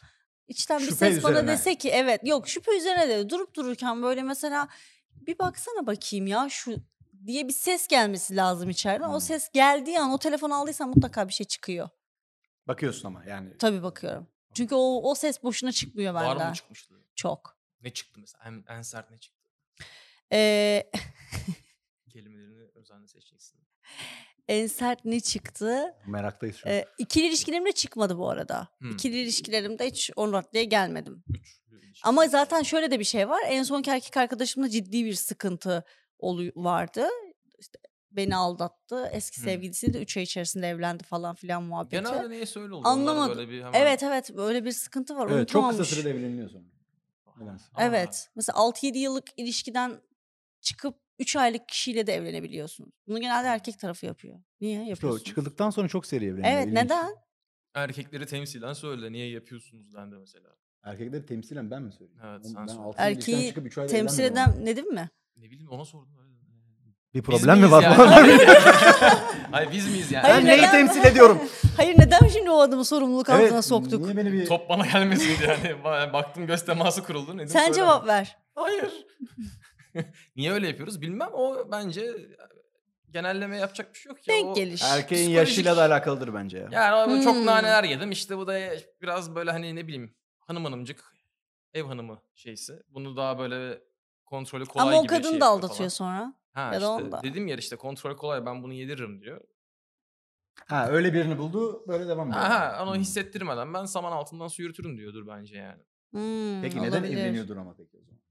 B: İçten bir
C: Şüphe
B: ses bana
C: üzerine.
B: dese ki evet yok şüphe üzerine de durup dururken böyle mesela bir baksana bakayım ya şu diye bir ses gelmesi lazım içeriden. O
C: Hmm.
B: ses geldiği an o telefonu aldıysam mutlaka bir şey çıkıyor.
C: Bakıyorsun ama yani.
B: Tabii bakıyorum. Çünkü o, o ses boşuna çıkmıyor
D: Var
B: benden.
D: mı çıkmıştı?
B: Çok.
D: Ne çıktı mesela? En, en sert ne çıktı?
B: Ee,
D: Kelimelerini özenle seçeceksin.
B: en sert ne çıktı?
C: Meraktayız şu an.
B: Ee, ikili ilişkilerimde çıkmadı bu arada.
D: Hmm.
B: İkili ilişkilerimde hiç o noktaya gelmedim.
D: Üçlü ilişki.
B: Ama zaten şöyle de bir şey var. En sonki erkek arkadaşımda ciddi bir sıkıntı olu- vardı. İşte beni aldattı. Eski
D: Hmm.
B: sevgilisi de 3 ay içerisinde evlendi falan filan muhabbeti.
D: Genelde niyeyse öyle oluyor.
B: Anlamadım.
D: Anlamadım. Böyle bir hemen...
B: Evet evet böyle bir sıkıntı var.
C: evet, çok kısa
B: unutamamış.
C: sürede evleniliyor sonra. Nedense.
D: Aa,
B: Evet. Mesela 6-7 yıllık ilişkiden çıkıp 3 aylık kişiyle de evlenebiliyorsun. Bunu genelde erkek tarafı yapıyor. Niye
C: İşte o
B: yapıyorsun?
C: çıkıldıktan sonra çok seri evleniliyor.
B: Evet
C: ilginç.
B: neden?
D: Erkekleri temsilen söyle. Niye yapıyorsunuz dendi mesela.
C: Erkekleri temsilen ben mi söyleyeyim?
D: Evet,
C: Oğlum
D: sen
C: ben
D: söyle.
C: altı yıl ilişkiden
B: Erkeği
C: çıkıp üç ayda
B: Temsil
C: evlenmedim ama.
B: eden ne dedim mi?
D: Ne bileyim ona sordum. öyle dedi.
C: Bir
D: Biz
C: problem mi
D: miyiz
C: var?
D: yani?
C: falan?
D: Hayır biz miyiz yani?
B: Hayır,
C: ben neyi
B: neden?
C: temsil ediyorum?
B: Hayır neden şimdi o adamı sorumluluk altına
C: Evet,
B: soktuk?
C: Niye beni bir...
D: Top bana gelmeseydi yani. Ba- Baktım göz teması kuruldu. Nedim
B: Sen
D: söylemedi.
B: cevap ver.
D: Hayır. Niye öyle yapıyoruz bilmem. O bence e, genelleme yapacak bir şey yok ya.
B: Denk
D: O-
B: geliş.
C: Erkeğin
D: Psikolojik-
C: yaşıyla da alakalıdır bence ya.
D: Yani o- çok
B: Hmm.
D: naneler yedim. İşte bu da biraz böyle hani ne bileyim hanım hanımcık ev hanımı şeysi. Bunu daha böyle kontrolü kolay
B: Ama o
D: gibi
B: kadın
D: şey
B: da
D: yapıyor
B: aldatıyor sonra.
D: falan. Ha,
B: ya da
D: işte,
B: onda.
D: Dedim ya işte kontrol kolay ben bunu yediririm diyor.
C: Ha öyle birini buldu böyle devam ediyor.
D: Aha onu
C: Hmm.
D: hissettirmeden ben saman altından su yürütürüm diyordur bence yani.
B: Hmm,
C: Peki neden
B: olabilir.
C: evleniyordur ama peki o zaman?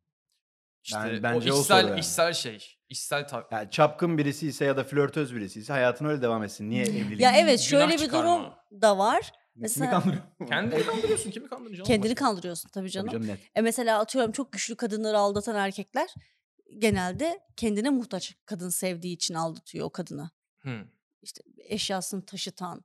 D: İşte
C: Ben-
D: o
C: bence o soru
D: içsel,
C: yani.
D: içsel şey. İçsel ta-
C: Yani çapkın birisi ise ya da flörtöz birisi ise hayatına öyle devam etsin. Niye evlilik?
B: Ya evet
D: Günah
B: şöyle bir
D: çıkarma.
B: durum da var.
C: Kimi
B: Mesela-
C: kandırıyor?
D: Kendini kandırıyorsun. Kimi kandıracaksın? oğlum
B: Kendini
D: başka?
B: kandırıyorsun tabii canım.
C: Tabii canım net.
B: E mesela atıyorum çok güçlü kadınları aldatan erkekler genelde kendine muhtaç kadın sevdiği için aldatıyor o kadını.
D: Hı.
B: İşte eşyasını taşıtan,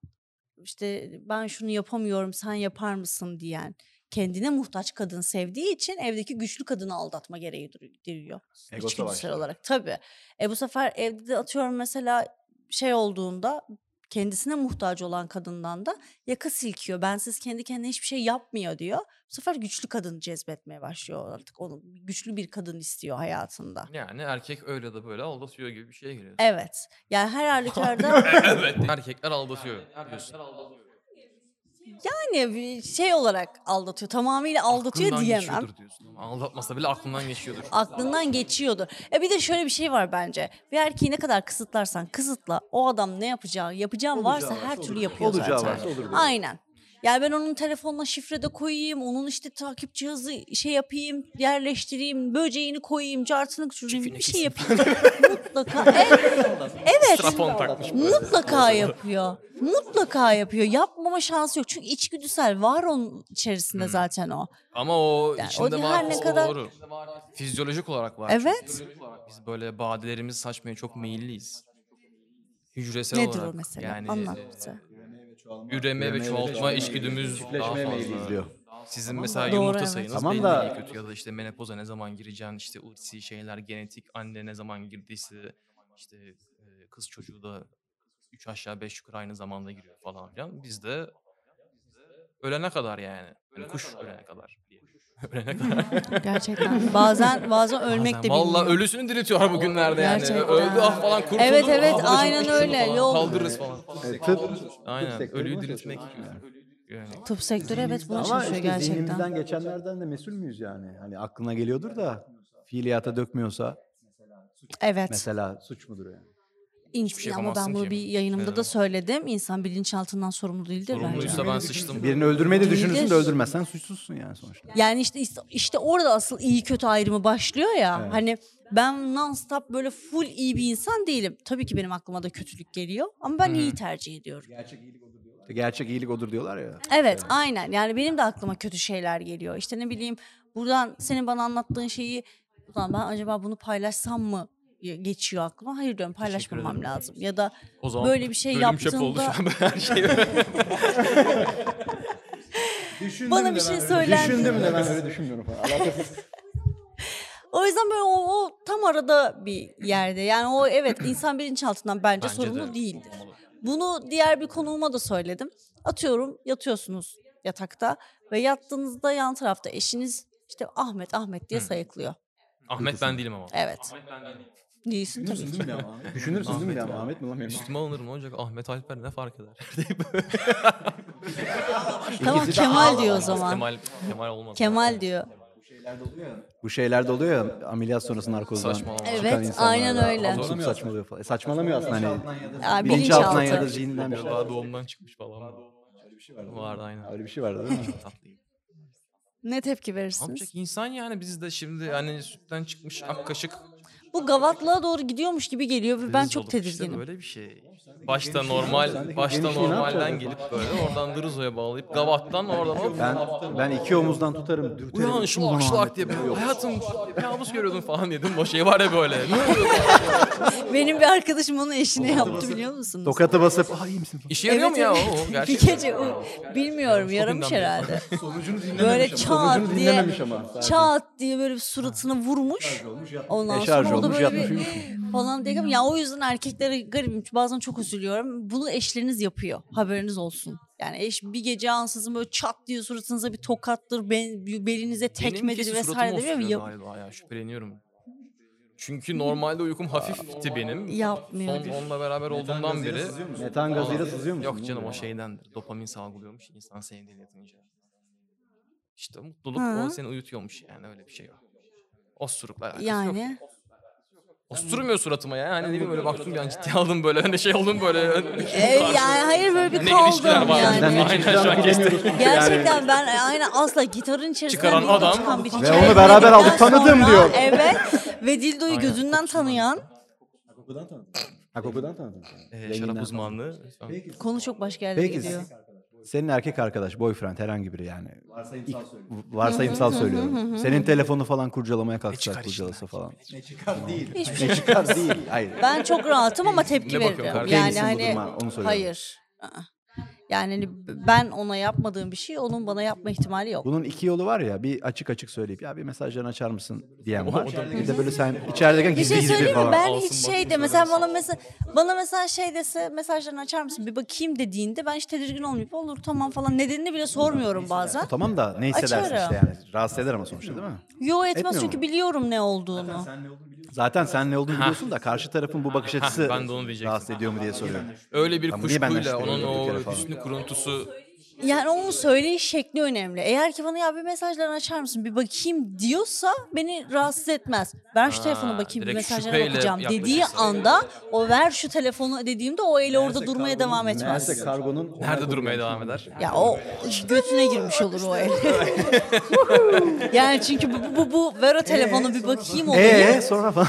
B: işte ben şunu yapamıyorum sen yapar mısın diyen kendine muhtaç kadın sevdiği için evdeki güçlü kadını aldatma gereği duru- duyuyor.
C: Ego
B: İçgüdüsel
C: savaşları.
B: olarak tabii. E bu sefer evde de atıyorum mesela şey olduğunda kendisine muhtaç olan kadından da yaka silkiyor. Bensiz kendi kendine hiçbir şey yapmıyor diyor. Bu sefer güçlü kadını cezbetmeye başlıyor artık. Onu güçlü bir kadın istiyor hayatında.
D: Yani erkek öyle de böyle aldatıyor gibi bir şeye giriyor.
B: Evet. Yani her halükarda
D: evet. Erkekler aldatıyor. diyorsun. yani
B: bir şey olarak aldatıyor. Tamamıyla aldatıyor
D: Aklından
B: diyemem.
D: geçiyordur diyorsun ama Aldatmasa bile aklından geçiyordur.
B: aklından geçiyordu. E bir de şöyle bir şey var bence. Bir erkeği ne kadar kısıtlarsan kısıtla o adam ne yapacağı, yapacağın varsa her türlü yapıyor
C: Olacağı
B: zaten.
C: varsa olur diyor.
B: Aynen. Yani ben onun telefonuna şifre de koyayım, onun işte takip cihazı şey yapayım, yerleştireyim, böceğini koyayım, cartını
D: Çiftini
B: küçüleyim, bir şey
D: kesin.
B: yapayım. mutlaka. Evet, evet.
D: Strapon takmış.
B: Mutlaka yapıyor. Mutlaka yapıyor. Yapmama şansı yok. Çünkü içgüdüsel var onun içerisinde
D: Hmm.
B: zaten o.
D: Ama o
B: Yani o
D: içinde
B: da
D: var.
B: her ne
D: o
B: kadar-
D: Doğru. Fizyolojik olarak var. çünkü.
B: Evet.
D: Biz böyle badelerimizi saçmaya çok meyilliyiz. Hücresel
B: Nedir
D: olarak.
B: o mesela?
D: Yani
B: Anlat
D: e,
B: bize.
D: üreme ve çoğaltma içgüdümüz daha
C: Çiftleşmeye meyilliyiz
D: fazla.
C: diyor.
D: Sizin mesela
B: Doğru,
D: yumurta
B: evet.
D: sayınız
C: Tamam
D: belli
C: da-
D: değil kötü ya da işte menopoza ne zaman gireceğin işte ursi şeyler genetik anne ne zaman girdiyse işte e, kız çocuğu da 3 aşağı 5 yukarı aynı zamanda giriyor falan filan. Bizde ölene kadar yani. Hani kuş ölene kadar. diye. ölene kadar.
B: Gerçekten. Bazen bazen ölmek de
D: Valla
B: bilmiyor.
D: ölüsünü diriltiyor bugünlerde yani.
B: Gerçekten.
D: Öldü ah falan kurtuldu.
B: Evet, evet,
D: ah, başımız
B: aynen
D: şunu
B: öyle,
D: falan
B: yol-
D: Kaldırırız falan.
C: Evet, tıp, tıp
D: Aynen
C: sektörü
D: ölüyü
C: buna
D: diriltmek.
C: çalışıyor.
D: Yani.
B: Tıp sektörü evet buna
C: Ama
B: çalışıyor
C: işte
B: şey gerçekten.
C: zihnimizden geçenlerden de mesul müyüz yani? Hani aklına geliyordur da fiiliyata dökmüyorsa
B: Evet.
C: mesela suç mudur yani?
B: İns-
D: şey
B: ama ben
D: yapamazsın
B: bunu
D: ki.
B: bir yayınımda da
D: Evet.
B: söyledim. İnsan bilinçaltından sorumlu değildir bence.
D: Sorumluysa ben sıçtım.
C: Birini öldürmeyi de
B: Değildir.
C: düşünürsün de öldürmezsen suçsuzsun yani sonuçta.
B: Yani işte işte orada asıl iyi kötü ayrımı başlıyor ya.
C: Evet.
B: Hani ben non-stop böyle full iyi bir insan değilim. Tabii ki benim aklıma da kötülük geliyor ama ben
D: Hı hı.
B: iyi tercih ediyorum.
C: Gerçek iyilik odur diyorlar ya.
B: Evet aynen yani benim de aklıma kötü şeyler geliyor. İşte ne bileyim buradan senin bana anlattığın şeyi ulan ben acaba bunu paylaşsam mı geçiyor aklıma. Hayır diyorum paylaşmamam
D: ederim.
B: lazım. Ya da
D: O zaman
B: Böyle bir şey
D: bölüm çapı oldu
B: yaptığında-
D: şu an her şey.
B: Bana bir şey söyler
C: Düşündüm de ben öyle düşünmüyorum falan. Alakasız.
B: O yüzden böyle o, o tam arada bir yerde. Yani o evet insan bilinçaltından bence,
D: Bence
B: sorumlu
D: de.
B: değildir. Bunu diğer bir konuğuma da söyledim. Atıyorum yatıyorsunuz yatakta ve yattığınızda yan tarafta eşiniz işte Ahmet Ahmet diye
D: Hı.
B: sayıklıyor.
D: Ahmet ben değilim ama.
B: Evet. Değilsin tabii.
C: Düşünürsün değil mi ama? Düşünürsün değil mi ama? Ahmet mi lan benim?
D: Üstüme alınırım olacak Ahmet Alper ne fark eder?
B: Tamam Kemal diyor o zaman.
D: Kemal, Kemal olmaz.
B: Kemal diyor.
C: Bu şeyler de oluyor ya ameliyat sonrası narkozdan.
D: Saçmalama.
C: çıkan
B: Evet,
C: insanlar
B: aynen
C: da
B: öyle.
C: absürt saçmalıyor falan. E, saçmalamıyor aslında hani.
B: Ya,
C: Bilinçaltından
B: bilinçaltı.
C: ya da zihninden bir şey.
D: Daha doğumdan çıkmış falan. Vardı aynen.
C: Öyle bir şey vardı değil mi?
D: Tatlıyım.
B: Ne tepki
D: Ne
B: verirsiniz?
D: yapacak insan yani biz de şimdi hani sütten çıkmış ak kaşık.
B: Bu gavatlığa doğru gidiyormuş gibi geliyor ve ben
D: dırız
B: çok
D: olup işte
B: tedirginim.
D: böyle bir şey. Başta normal, başta
C: genişliği şey ne
D: normalden
C: yapacağız?
D: gelip böyle oradan Dırzo'ya bağlayıp Gavat'tan oradan hop.
C: Ben, ben iki omuzdan tutarım. dürterim.
D: Uyan şu
C: Ulan
D: akşlak
C: Ahmet
D: diye
C: ya,
D: böyle
C: yok.
D: hayatım kabus görüyordum falan dedim. O şey var ya böyle.
B: Benim bir arkadaşım onu eşine yaptı biliyor musunuz?
C: Tokatı basıp ay iyi misin?
D: İşe yarıyor mu ya o? o
B: bir
D: Gerçekten.
B: gece o- bilmiyorum yaramış
D: günden beri.
B: herhalde.
C: Sonucunu
B: Böyle çat
C: Sonucunu
B: diye
C: dinlememiş ama.
B: çat diye böyle bir suratına vurmuş. Ondan
C: Eşarj
B: sonra o da
C: Yatmış,
B: böyle
C: E, yatmış,
B: bir
C: uyumuş mu?
B: falan diye. Ya o yüzden erkeklere garibim. Bazen çok üzülüyorum. Bunu eşleriniz yapıyor. Haberiniz olsun. Yani eş bir gece ansızın böyle çat diye suratınıza bir tokattır, ben- belinize tekmedir
D: Benimkisi
B: vesaire
D: suratıma
B: demiyor mu?
D: osuruyor
B: Yap-
D: galiba ya şüpheleniyorum. Çünkü normalde uykum hafifti benim.
B: yapmıyor.
D: Son onunla beraber olduğundan beri.
C: Metan gazıyla sızıyor musun?
D: Yok canım o şeydendir. Dopamin salgılıyormuş insan sevdiğini yatınca. İşte mutluluk
B: Ha.
D: o seni uyutuyormuş yani öyle bir şey var. Osurukla alakası yani. yok.
B: Yani
D: Osurmuyor suratıma ya. Hani ne bileyim böyle baktım bir an ciddiye aldım böyle. Hani şey oldum böyle.
B: E, yani hayır böyle bir
D: Ne
B: kaldım
D: ilişkiler var
B: yani.
C: Senden ne
D: Aynen, şu an
C: çıkacağını
D: kestim.
C: bilemiyoruz. çünkü
B: Gerçekten
C: yani.
B: ben e, aynen asla gitarın içerisinden
D: Çıkaran
B: bir gün
D: adam.
B: çıkan bir
D: Ve
B: çiçeğe
C: onu beraber
B: girdikten
C: aldık, tanıdım
B: sonra,
C: diyor.
B: Evet ve Dildo'yu
D: Aynen,
B: gözünden
D: kokusundan.
B: tanıyan
A: Kokudan tanıdın.
C: Ha, kokudan tanıdın.
D: Ee, şarap
C: Renginden.
D: uzmanlığı.
B: konu çok başka yerlere
C: Peki
B: gidiyor.
C: senin erkek arkadaş, boyfriend herhangi biri yani.
A: Varsayımsal söylüyorum.
C: Varsayımsal söylüyorum. Senin telefonu falan kurcalamaya
D: çıkar
C: kalksak
D: işte?
C: kurcalasa falan.
A: Ne çıkar değil.
B: Hiçbir şey.
C: Ne çıkar değil. Hayır.
B: Ben çok rahatım ama tepki
D: Ne bakıyorsun
B: veririm.
D: kardeşim?
B: Yani
C: Değilsin bu
B: hani
C: duruma, onu söylüyorum.
B: hayır. Aa. Yani hani ben ona yapmadığım bir şey onun bana yapma ihtimali yok.
C: Bunun iki yolu var ya bir açık açık söyleyip ya bir mesajlarını açar mısın diyen
D: O-
C: var.
D: o da-
C: Bir de böyle sen içerideyken
B: Bir
C: gizli
B: şey
C: gizli
B: söyleyeyim mi?
C: falan.
B: Ben
D: Alsın
B: hiç şey
D: bakayım
B: de mesela
D: söylesin.
B: bana mesela bana mesela şey dese mesajlarını açar mısın bir bakayım dediğinde ben hiç tedirgin olmayıp olur tamam falan nedenini bile sormuyorum bazen.
C: Tamam da ne hissedersin
B: Açarım.
C: işte yani. Rahatsız eder ama sonuçta değil mi?
B: Yo
C: Etmiyor
B: etmez
C: mu?
B: çünkü biliyorum ne olduğunu.
A: Sen ne olduğunu biliyorsun.
C: Zaten sen ne olduğunu biliyorsun da karşı tarafın bu bakış açısı
D: ben de onu diyecektim.
C: rahatsız ediyor mu diye soruyorum.
D: Öyle bir
C: Ama niye benden
D: kuşkuyla onun
C: şüpheleniyor bir kere
D: o
C: falan?
D: hüsnü kuruntusu
B: Yani onun söyleyiş şekli önemli. Eğer ki bana ya bir mesajlarını açar mısın bir bakayım diyorsa beni rahatsız etmez. Ver şu
D: Ha,
B: telefona bakayım bir
D: direkt
B: mesajlara
D: şüpheyle
B: bakacağım dediği
D: yaklaşırsa.
B: anda o ver şu telefonu dediğimde o eli orada durmaya devam etmez.
C: Meğerse kargonun...
D: nerede durmaya devam eder?
B: Ya o götüne girmiş olur o el. yani çünkü bu, bu, bu Vero telefonu bir bakayım olayı.
C: Eee Ee, sonra falan.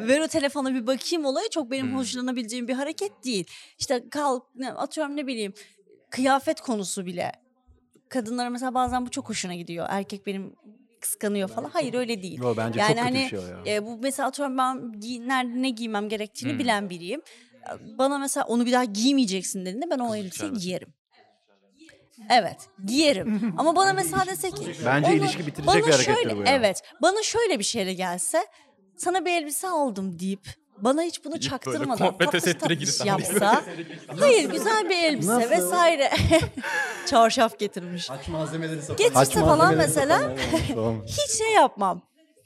B: Vero telefonu bir bakayım olayı çok benim
C: Hmm.
B: hoşlanabileceğim bir hareket değil. İşte kalk ne- atıyorum ne bileyim kıyafet konusu bile. Kadınlara mesela bazen bu çok hoşuna gidiyor. Erkek benim kıskanıyor falan. Hayır öyle değil.
C: Yo, bence çok
B: yani
C: kötü
B: hani
C: bir şey o ya. Hmm.
B: e, bu mesela atıyorum ben giy- nerede ne giymem gerektiğini bilen biriyim. Bana mesela onu bir daha giymeyeceksin dediğinde ben o elbiseyi
D: içermesin.
B: giyerim. Evet, giyerim. Ama bana mesela dese ki
C: Bence
B: onu-
C: ilişki bitirecek
B: bana
C: bir harekettir
B: şöyle-
C: bu ya.
B: Evet. Bana şöyle bir şeyle gelse sana bir elbise aldım deyip bana hiç bunu çaktırmadan
D: komple
B: tatlış
D: tesettüre
B: tatlış
D: girsen
B: yapsa. Hayır güzel bir elbise
C: Nasıl?
B: vesaire. Çarşaf getirmiş.
A: Aç malzemeleri satın.
B: Geçişte
C: Aç
B: falan
C: malzemeleri
B: mesela
C: Tamam.
B: hiç şey yapmam.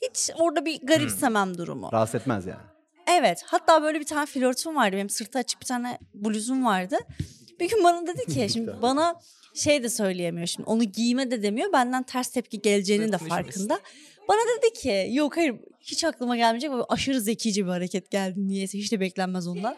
B: Hiç orada bir garipsemem durumu.
C: Rahatsız etmez yani.
B: Evet. Hatta böyle bir tane flörtüm vardı. Benim sırtı açık bir tane bluzum vardı. Bir gün bana dedi ki şimdi bana şey de söyleyemiyor şimdi onu giyme de demiyor benden ters tepki geleceğinin de
D: Sırtını işin
B: farkında. Bana dedi ki yok hayır hiç aklıma gelmeyecek böyle aşırı zekice bir hareket geldi niyeyse hiç de beklenmez ondan.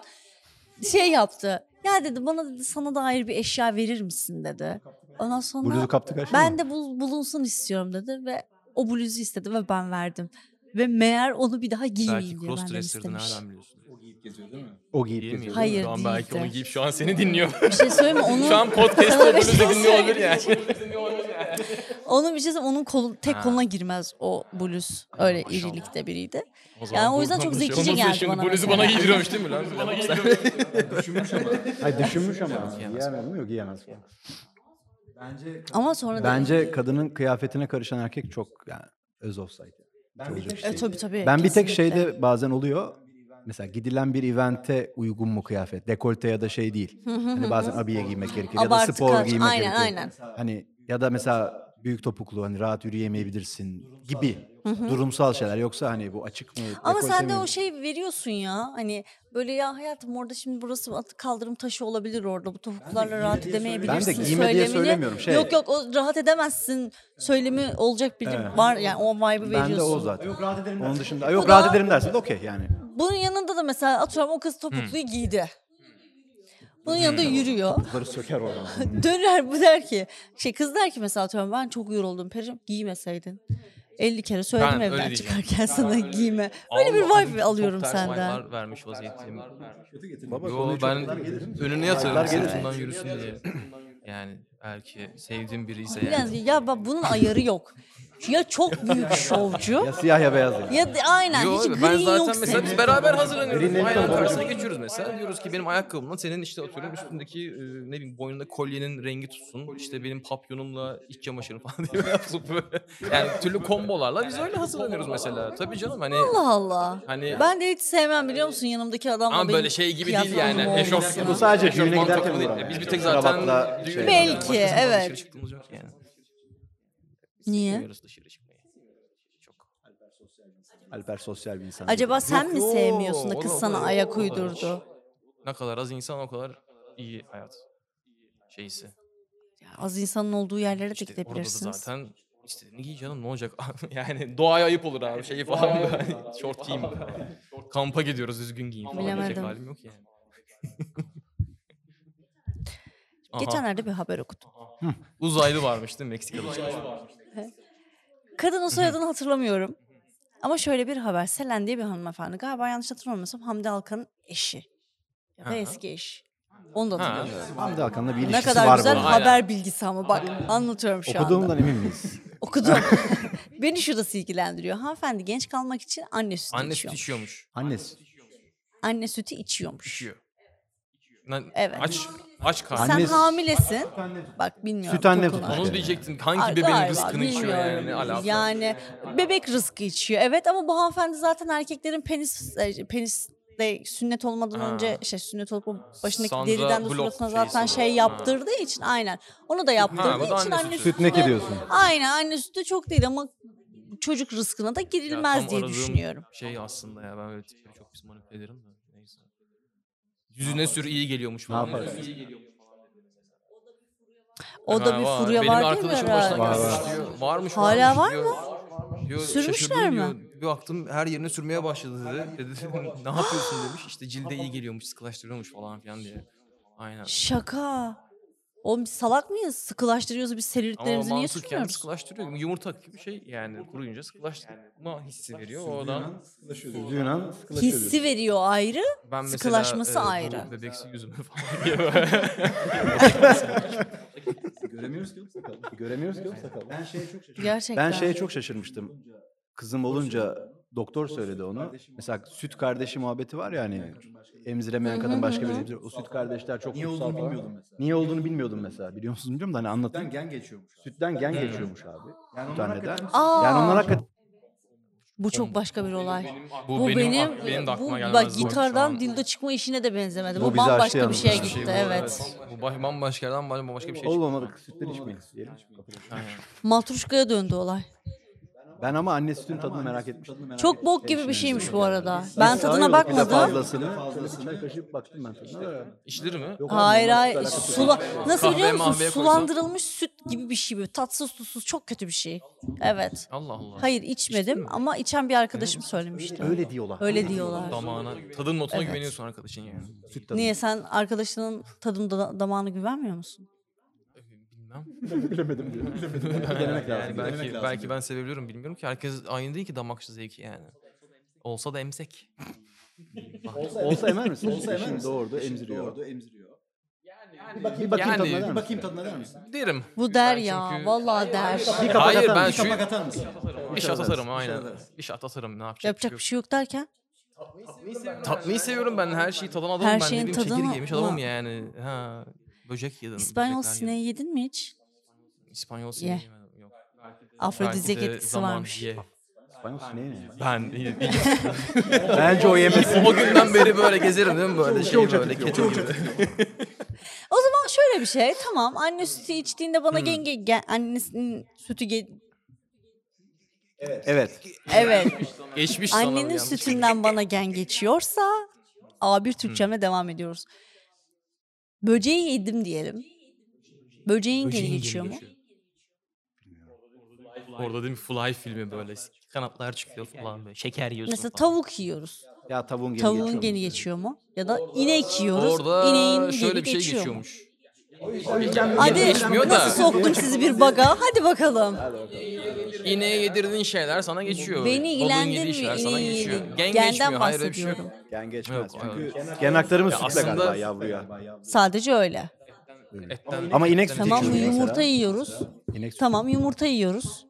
B: Şey yaptı ya dedi bana dedi sana dair bir eşya verir misin dedi. Ondan sonra
C: Bluzu kaptı kaçtı
B: ben
C: mı?
B: de bul- bulunsun istiyorum dedi ve o bluzu istedi ve ben verdim. Ve meğer onu bir daha
D: Belki
B: giymeyeyim diye benden
D: crossdresser'dı
B: istemiş.
D: nereden biliyorsun?
A: O giyip geziyor değil mi?
C: O giyip
D: Değil mi?
C: geziyor.
B: Hayır,
D: Şu an belki
B: değildi.
D: onu giyip şu an seni dinliyor.
B: Bir şey söyleyeyim mi? Onun,
D: şu an podcast
B: Sana bir
D: olduğunu
B: şey
D: da dinliyor olabilir
B: söyleyeyim.
D: yani.
B: onun bir şey söyleyeyim, onun kolu, tek
D: Ha.
B: koluna girmez o bluz. Öyle
D: maşallah.
B: irilikte biriydi.
D: O
B: Yani o yüzden çok zekice geldi bana
D: Bunu
B: mesela.
D: bana giydiriyormuş değil mi lan? Bana
A: Düşünmüş ama.
C: Hayır düşünmüş ama. Giyemez mi? Yok giyemez falan.
A: Bence
B: Ama sonra da...
C: Bence kadının kıyafetine karışan erkek çok yani öz offside. şey
A: ben bir tek
B: E, tabii tabii.
C: Ben bir tek
B: kesinlikle.
C: şeyde bazen oluyor. Mesela gidilen bir evente uygun mu kıyafet? Dekolte ya da şey değil. Hani bazen abiye giymek gerekir ya da
B: Abartı
C: spor
B: kaç-
C: giymek
B: aynen,
C: gerekir.
B: aynen.
C: Hani ya da mesela büyük topuklu hani rahat yürüyemeyebilirsin gibi durumsal şeyler yoksa hani bu açık mı?
B: Ama
C: dekolte
B: sen de
C: mi?
B: o şey veriyorsun ya. Hani böyle ya hayatım orada şimdi burası at- kaldırım taşı olabilir orada. Bu topuklarla rahat edemeyebilirsin.
C: Ben de giyme diye
B: söylemini-
C: söylemiyorum, şey-
B: Yok yok o rahat edemezsin söylemi olacak bir var yani o vibe'ı veriyorsun.
C: Ben de o zaten.
A: Yok rahat ederim.
C: Onun dışında yok
B: Bu da-
C: rahat ederim dersin de okey yani.
B: Bunun yanında da mesela atıyorum o kız topukluyu giydi. Bunun yanında yürüyor.
C: Bunları söker oradan.
B: Döner bu der ki şey kız der ki mesela atıyorum ben çok yoruldum Pericim giymeseydin. 50 kere söyledim
D: Ben öyle
B: evden
D: diyeceğim.
B: çıkarken sana giyme. Böyle bir vibe alıyorum senden.
D: Var, vermiş vaziyetteyim.
C: Baba
D: Yo
C: konuyu çok-
D: ben önüne yatarım
C: Aylar gelir.
D: sırtından yürüsün diye. Yani belki sevdiğim biri ise
B: Biraz
D: yani.
B: ya bak bunun ayarı yok. Ya çok büyük şovcu
C: Ya siyah ya beyaz yani.
B: ya da- aynen
D: Yo,
B: hiç
D: abi,
B: green
D: ben zaten
B: yok
D: mesela
B: senin.
D: biz beraber hazırlanıyoruz.
C: Green'in
D: Aynen
C: tabii.
D: karşısına geçiyoruz mesela. Diyoruz ki benim ayakkabımla senin işte atıyorum üstündeki e, ne bileyim boynunda kolyenin rengi tutsun. İşte benim papyonumla iç çamaşırım falan diye yapıp böyle. Yani türlü kombolarla biz öyle hazırlanıyoruz mesela. Tabii canım hani
B: Allah Allah.
D: hani
B: Ben de hiç sevmem biliyor musun yanımdaki adamla
D: ama
B: benim
D: böyle şey gibi değil
B: kıyafetim
D: yani.
B: olmasına.
D: Eşof,
C: Bu sadece
D: eşofman
C: düğüne giderken
D: takımı değil.
C: olur ama
D: Biz
C: yani.
D: bir tek zaten
C: Kravatla şey-
D: düğün-
B: Belki,
D: başkasından
B: evet.
D: Dışarı çıktığımız yok yani.
B: Niye?
D: Sevmiyoruz dışarı çıkmayı. Çok.
C: Alper sosyal bir insan.
B: Acaba sen mi
D: yo,
B: sevmiyorsun da
D: o
B: kız
D: da- o
B: sana
D: da-
B: ayak
D: o da-
B: uydurdu?
D: Ne kadar az insan o kadar iyi hayat şeysi.
B: Ya Az insanın olduğu yerlere de
D: İşte orada da
B: gidebilirsiniz.
D: zaten işte ne giy canım ne olacak? yani doğaya ayıp olur abi şeyi falan. böyle. Şort giyeyim. Kampa gidiyoruz düzgün giyin falan. diyecek
B: Bilemedim.
D: halim yok yani. Aha,
B: Geçenlerde bir haber okudum.
D: uzaylı varmış değil mi Meksika'da? çalışan.
B: Kadının soyadını hatırlamıyorum. Ama şöyle bir haber. Selen diye bir hanımefendi. Galiba yanlış hatırlamıyorsam Hamdi Alkan'ın eşi. Ya da
D: Ha.
B: eski eşi. Onu da
D: Ha.
B: hatırlamıyorum.
C: Hamdi Hakan'la bir ilişkisi
B: Ne
C: var
B: kadar güzel
C: bu arada.
D: Aynen.
B: haber bilgisi ama bak anlatıyorum şu anda.
C: Okuduğumdan emin miyiz?
B: Okudum. Beni şurası ilgilendiriyor. Hanımefendi genç kalmak için anne sütü
D: Anne süt
B: içiyormuş.
D: içiyormuş.
C: Annesi.
B: Anne sütü içiyormuş.
D: İçiyor. Lan
B: Evet.
D: Aç, aç karnı.
C: Anne-
B: Sen
C: Annesi-
B: hamilesin. Bak bilmiyorum.
C: Süt anne
B: kokunu.
C: tutmuş.
D: Onu
C: Yani.
D: diyecektim.
B: Aa,
D: Hangi bebeğin
B: galiba,
D: rızkını içiyor yani?
B: bilmiyorum.
D: Ne alaka?
B: Yani bebek rızkı içiyor. Evet ama bu hanımefendi zaten erkeklerin penis e, penis de sünnet olmadan
D: Ha.
B: önce şey sünnet olup o başındaki
D: Sandra
B: deriden de
D: Block
B: suratına
D: şeysi
B: zaten
D: bu.
B: şey
D: Ha.
B: yaptırdığı için aynen. Onu da yaptırdığı
D: bu da
B: için
D: anne
B: anne
D: sütü.
B: sütü.
C: Süt ne ki diyorsun?
B: Aynen anne sütü çok değil ama çocuk rızkına da
D: Ya
B: girilmez
D: tam
B: diye
D: aradığım
B: düşünüyorum.
D: Şey aslında ya ben öyle tipleri çok pis manipüle ederim de neyse. Yüzüne sür iyi geliyormuş
C: Ne
D: falan.
C: yaparız?
D: İyi geliyormuş.
B: O da
D: Ha,
B: bir
D: var.
B: furya
D: Benim
B: var değil mi
D: arkadaşım
B: herhalde?
D: başına
C: Var,
D: gelmiş
C: var.
D: diyor. Varmış
B: Hala
D: varmış
B: var
D: diyor. Diyor,
B: Sürmüşler
D: "Şaşırdım,"
B: mi?
D: Diyor. Bir baktım her yerine sürmeye başladı dedi. dedi ne yapıyorsun demiş. İşte cilde iyi geliyormuş sıkılaştırıyormuş falan filan diye. Aynen.
B: Şaka. Oğlum biz salak mıyız? Sıkılaştırıyoruz biz
D: Ama
B: selülitlerimizi niye
D: mantıken
B: sürmüyoruz?
D: sıkılaştırıyor. Yumurta gibi şey yani kuruyunca sıkılaştırma hissi veriyor. Oradan
C: Sürdüğün an sıkılaşıyor diyorsun.
B: Hissi veriyor ayrı.
D: Ben mesela,
B: Sıkılaşması
D: e, bu
B: ayrı.
D: Bebeksi yüzüme falan diye böyle.
C: Göremiyoruz ki oğlum sakalı. Göremiyoruz ki oğlum sakalı. Ben şeye çok şaşırmıştım.
B: Gerçekten.
C: Ben şeye çok şaşırmıştım. Kızım olunca doktor söyledi onu. Mesela süt kardeşi muhabbeti var ya hani emziremeyen kadın başka birini emziriyor. O süt kardeşler çok
A: Niye
C: kutsal
A: olduğunu
C: falan.
A: bilmiyordum mesela.
C: Niye olduğunu bilmiyordum mesela. Biliyor musunuz bilmiyorum da hani
A: Sütten
C: anlatayım.
A: gen geçiyormuş.
C: Sütten gen geçiyormuş abi.
A: Yani
C: Süt
A: onlar
C: anneden.
A: hakikaten-
B: Aa,
C: Yani onlar hakikaten
B: bu çok başka bir olay.
D: Bu,
B: Bu
D: benim,
B: benim,
D: ak- benim de
B: bu
D: aklıma gelmez.
B: bak
D: bu arada şu an.
B: gitardan dildo çıkma işine de benzemedi.
C: Bu
B: Bu,
C: bizi açtı
B: bambaşka bir
C: yalnız.
B: şeye
C: Bir şey
B: gitti
D: bu,
B: evet.
D: Bu bah- bambaşka yerden bam- bambaşka bir şey çıktı.
C: olmamadık sütten içmeyin. diyelim.
D: Aynen.
B: Matruşkaya döndü olay.
C: Ben ama anne sütün tadını merak etmiştim.
B: Çok bok gibi bir şeymiş bu arada. Ben
C: Biz
B: tadına
C: ayırdık bir de
B: bakmadım.
C: Fazlasını, fazlasını kaşıp baktım ben tadına. da.
D: İçilir mi?
C: Yok abi,
B: Hayır
C: onunla
B: hayır
C: alakası yok.
B: sula nasıl
D: Kahveye
B: biliyor musun
D: mahveye koysan.
B: sulandırılmış süt gibi bir şey böyle tatsız tuzsuz çok kötü bir şey. Evet.
D: Allah Allah.
B: Hayır içmedim ama içen bir arkadaşım söylemişti.
C: Öyle diyorlar.
B: Öyle diyorlar.
D: Damağına, tadın notuna
B: Evet.
D: güveniyorsun arkadaşın yani.
C: Süt tadı.
B: Niye sen arkadaşının tadın da- damağına güvenmiyor musun?
D: Bilmem.
C: Bilemedim diyor. Bilemedim.
D: Yani
C: Denemek lazım.
D: belki,
A: denemek lazım
D: belki
A: diyor.
D: ben sevebiliyorum bilmiyorum ki. Herkes aynı değil ki damak zevki yani. Olsa da emsek.
C: Olsa emer misin? Olsa
A: emer
C: emer
A: misin?
C: Doğurdu,
A: Eşim
C: emziriyor.
A: Doğurdu, emziriyor.
C: Bir bakayım, bir bakayım
D: Yani-
C: tadına der
A: Bir
C: misin?
A: bakayım tadına der misin?
D: Derim.
B: Bu der
D: Ben
B: ya
D: çünkü-
B: vallahi der.
D: Hayır ben
A: Bir
D: şu
A: kapak atar mısın?
D: bir şat atarım
A: şat
D: aynen.
A: atarız.
D: Bir şat atarım ne yapacak.
B: Yapacak bir şey yok derken
D: yok. Tatlıyı seviyorum ben her şeyi tadan adamım
B: Her
D: ben. Ne
B: şeyin
D: bileyim, çekirge
B: tadına-
D: yemiş
B: Ulan.
D: adamım yani. Ha. Böcek yedim.
B: İspanyol
D: böcekler yedim.
B: sineği yedin mi hiç?
D: İspanyol
B: Ye.
D: sineği yemedim. Yok.
B: Afrodizyak
D: Belki de
B: etkisi
D: zaman
B: varmış.
D: ye.
C: İspanyol sineği ne?
D: Ben iyi- iyi-
C: Bence o yemesin.
D: o günden beri böyle gezerim değil mi böyle şey böyle keçi gibi.
B: O zaman şöyle bir şey tamam anne sütü içtiğinde
D: Hmm.
B: bana genge gen, annesinin sütü ge-
C: Evet.
B: evet
D: Geçmiş sana bu
B: annenin
D: yanlış.
B: sütünden bana gen geçiyorsa A1 Türkçemle devam ediyoruz. Böceği yedim diyelim. Böceğin geri
D: Böceğin geri
B: geçiyor mu?
D: Orada değil mi Fly filmi böyle kanatlar çıkıyor falan böyle şeker yiyorsun
B: Mesela
D: falan.
B: tavuk yiyoruz.
C: Ya tavuğun geri
B: Tavuğun
C: geçiyor
B: geni
C: mu?
B: geçiyor mu? Ya da inek yiyoruz.
D: Orada
B: İneğin
D: şöyle
B: geri
D: bir şey
B: geçiyor mu?
D: geçiyormuş.
B: Hadi
D: Geçmiyor da.
B: nasıl soktum sizi bir baga? Hadi bakalım.
D: İneğe yedirdiğin şeyler sana geçiyor.
B: Beni
D: Balığın yediği
B: ilgilendirmiyor.
D: şeyler sana
B: ineği
D: geçiyor.
B: yedim.
D: Gen
B: Genden
D: geçmiyor. Hayır öyle bir şey yok.
B: bahsediyorum.
C: Gen geçmez.
D: Yok,
C: Çünkü
D: hayır.
C: gen aktarımı sütle
D: aslında-
C: galiba yavruya.
B: Sadece öyle.
D: Etten-
C: Ama inek sütü
B: Tamam
C: Geçiyor
B: yumurta
C: mesela.
B: yiyoruz.
C: İnek sütü.
B: Tamam yumurta yiyoruz.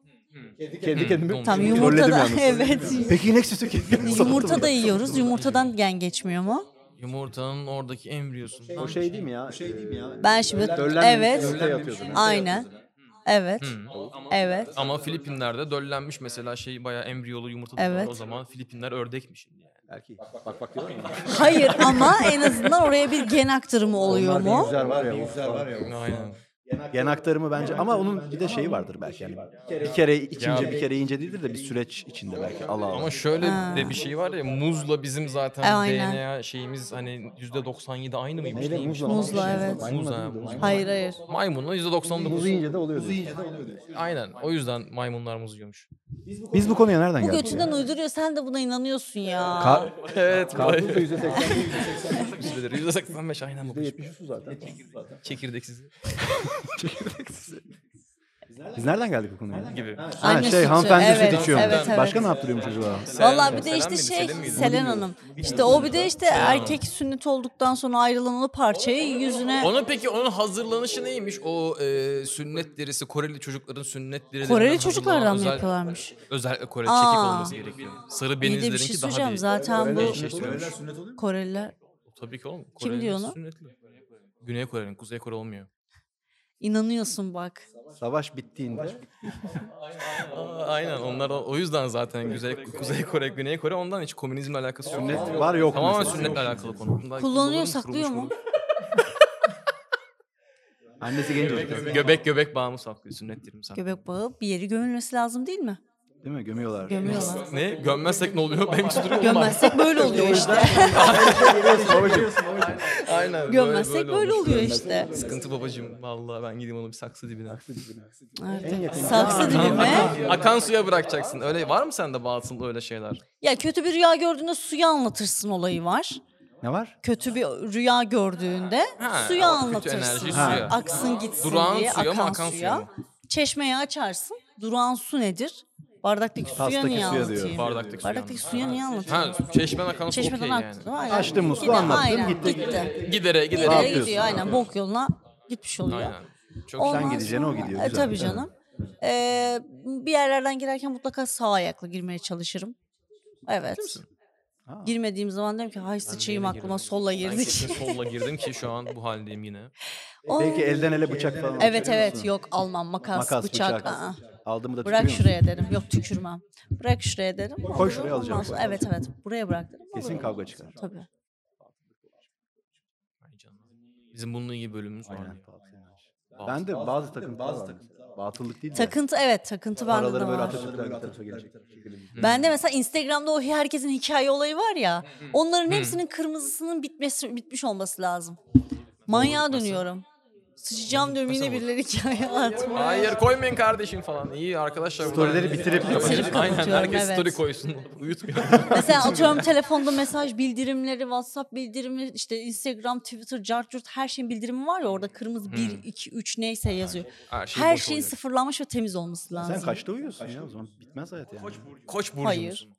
C: Kedi
D: Hı,
C: kendimi
D: domuz.
B: Tam
D: Rolledim
B: yumurta da
C: yalnız.
B: evet.
C: Peki yine sütü kedi.
B: Yumurta da yiyoruz. Yumurtadan gen geçmiyor mu?
D: Yumurtanın oradaki embriyosundan.
C: O şey değil mi ya?
A: Bu şey değil mi ya?
B: Ben şimdi-
C: Döllenmemiş
B: Evet.
C: yumurta yapıyordu.
B: Aynen. Evet.
D: Hı.
B: Evet.
D: Ama Filipinler'de döllenmiş mesela şey bayağı embriyolu yumurta
B: Evet.
D: O zaman Filipinler ördekmiş. Yani.
C: Erkek. Bak bak bak görüyor musun?
B: Hayır ama en azından oraya bir gen aktarımı oluyor
C: Onlar bir
B: mu?
C: Güzel var ya. of.
A: Bilgisayar var ya.
D: Aynen.
C: Gen aktarımı bence ama onun bir de şeyi vardır belki yani. Bir kere ikinci bir kere ince değildir de bir süreç içinde belki. Allah Allah.
D: Ama şöyle
B: Ha.
D: de bir şey var ya muzla bizim zaten
B: E, aynen.
D: DNA şeyimiz hani %97 aynı mıymış?
C: Neyle?
D: neymiş?
C: Muzla mı?
B: Muzla, evet.
C: şey,
D: Muzla,
C: Maymunla değil mi?
D: muzla.
B: Hayır hayır.
D: Maymunla
C: Muzu
D: %99.
C: yiyince de oluyor. diyor.
A: Yiyince de oluyor diyor.
D: Aynen. O yüzden maymunlar muz yiyormuş.
C: Biz bu konuya nereden
B: Bu
C: geldik?
B: götünden uyduruyor. Sen de buna inanıyorsun ya.
C: Ka-
D: Evet.
C: Karpuz da %80,
D: %85 aynen bu.
C: %70'i su zaten.
D: Çekirdeksiz
C: Biz nereden geldik bu konuya?
D: gibi.
C: Ha,
B: Anne
C: şey
B: sütü,
C: hanımefendi
B: evet,
C: süt içiyormuş.
D: evet,
B: evet.
C: Başka ne yaptırıyormuş acaba?
B: Vallahi bir de
D: Selen
B: işte
D: miydi,
B: şey
D: Selen miydi?
B: Selen Hanım. İşte o bir de işte erkek sünnet olduktan sonra ayrılan o parçayı yüzüne
D: Onun peki onun hazırlanışı neymiş? O e, sünnet derisi Koreli çocukların sünnet derisi.
B: Koreli çocuklardan mı yapıyorlarmış?
D: Özellikle Kore
B: Aa.
D: çekik olması gerekiyor. Sarı
B: İyi de bir şey
D: benizlerinki daha
B: söyleyeceğim.
D: bir.
B: Zaten bu
D: Koreli şey söylüyormuş.
A: Koreliler sünnet oluyor mu?
B: Koreliler
D: Tabii ki oğlum.
B: Kim
D: Koreliler
B: diyor onu?
D: Sünnetli. Güney Kore'nin, Kuzey Kore olmuyor.
B: inanıyorsun bak.
C: Savaş bittiğinde
D: Aa, aynen onlar da- o yüzden zaten Güzel, Kuzey Kore, Güney Kore ondan hiç komünizmle alakası yok.
C: sünnet var yok
D: Tamamen
C: mesela.
D: sünnetle alakalı konu. Bunlar
B: Kullanıyor,
D: kullanılmış,
B: saklıyor mu?
D: kurulmuş,
C: Annesi genç çocuk.
D: kurulmuş. Göbek göbek bağımı saklıyor sünnetlerim sen.
B: Göbek bağı bir yeri gömülmesi lazım değil mi?
C: Değil mi? Gömüyorlar.
B: Gömüyorlar.
D: Ne? Gömmezsek ne oluyor? Benim için duruyor.
B: Gömmezsek böyle oluyor işte.
D: Aynen. böyle-
B: Gömmezsek böyle
D: olmuş.
B: oluyor işte.
D: Sıkıntı babacığım. Vallahi ben gideyim onu bir saksı dibine.
B: Evet. Saksı dibime.
D: Akan suya bırakacaksın. Öyle var mı sende batıl öyle şeyler?
B: Ya kötü bir rüya gördüğünde suya anlatırsın olayı var.
C: Ne var?
B: Kötü bir rüya gördüğünde
D: Ha,
B: suya
D: o kötü
B: anlatırsın.
D: enerjiyi suya.
B: Aksın gitsin
D: Durağan
B: diye.
D: suya mı,
B: akan,
D: akan
B: suya.
D: suya mı?
B: Çeşmeyi açarsın. Durağan su nedir? Bardaktaki suya
C: Tastaki
B: niye
C: suya diyor.
B: anlatayım?
D: Bardaktaki suya.
B: Bardaktaki suya niye anlatayım?
D: Ha çeşmen akan su
B: Çeşmeden
D: okey yani.
B: aktı. Aynen.
C: Açtım musluğu,
B: Gide-
C: anlattım,
B: Aynen,
C: gitti.
B: gitti.
D: Gidere gidere.
B: Nereye
C: yapıyorsun?
B: gidiyor? Aynen bok yoluna gitmiş oluyor.
D: Aynen. Çok
B: Ondan
C: Sen gideceksin, o gidiyor.
B: E,
C: Güzel.
B: tabii canım. Ee, bir yerlerden girerken mutlaka sağ ayakla girmeye çalışırım. Evet.
C: Ha.
B: Girmediğim zaman derim ki hay sıçayım aklıma solla
D: Ben
B: girdik.
D: kesin solla girdim ki şu an bu haldeyim yine.
B: Aa,
C: Belki elden ele bıçak falan.
B: evet
C: Biliyor
B: evet
C: musun?
B: yok almam makas,
C: Makas,
B: bıçak.
C: bıçak.
B: aa.
C: Aldı mı da
B: Bırak
C: tükürüyor
B: şuraya derim. Yok tükürmem. Bırak şuraya derim.
C: Koy şuraya
B: Ondan
C: alacağım.
B: sonra- Evet evet buraya bırak derim.
C: musun? Kesin
B: Alırım.
C: kavga çıkar.
B: Tabii.
D: Ay canım. Bizim bununla ilgili bölümümüz var.
C: Aynen.
D: ya.
C: Ben de bazı takım bazı takım. Batıllık değil de.
B: Takıntı evet takıntı bende de
C: Araları böyle
B: var.
C: Atatürk'ler bir tarafa gelecek.
B: Bende mesela Instagram'da o herkesin hikaye olayı var ya. Onların hepsinin kırmızısının bitmesi bitmiş olması lazım. Manyağa dönüyorum. Sıçacağım diyorum yine
D: bitmese
B: birileri hikaye atma.
D: Hayır koymayın kardeşim falan. İyi arkadaşlar. buradan-
C: Storyleri bitirip-
B: Bitirip
D: Aynen
B: kapatıyorum,
D: herkes
B: evet.
D: story koysun. Uyutmuyor.
B: Mesela atıyorum telefonda mesaj bildirimleri, WhatsApp bildirimi, işte Instagram, Twitter, cart curt her şeyin bildirimi var ya orada kırmızı 1, 2, 3 neyse yazıyor.
D: Her, şey
B: Her
D: boş
B: şeyin
D: olacak.
B: sıfırlanmış ve temiz olması lazım.
C: Sen kaçta uyuyorsun ya o zaman? Bitmez hayat yani.
D: Koç burcu
B: Hayır.
D: musun?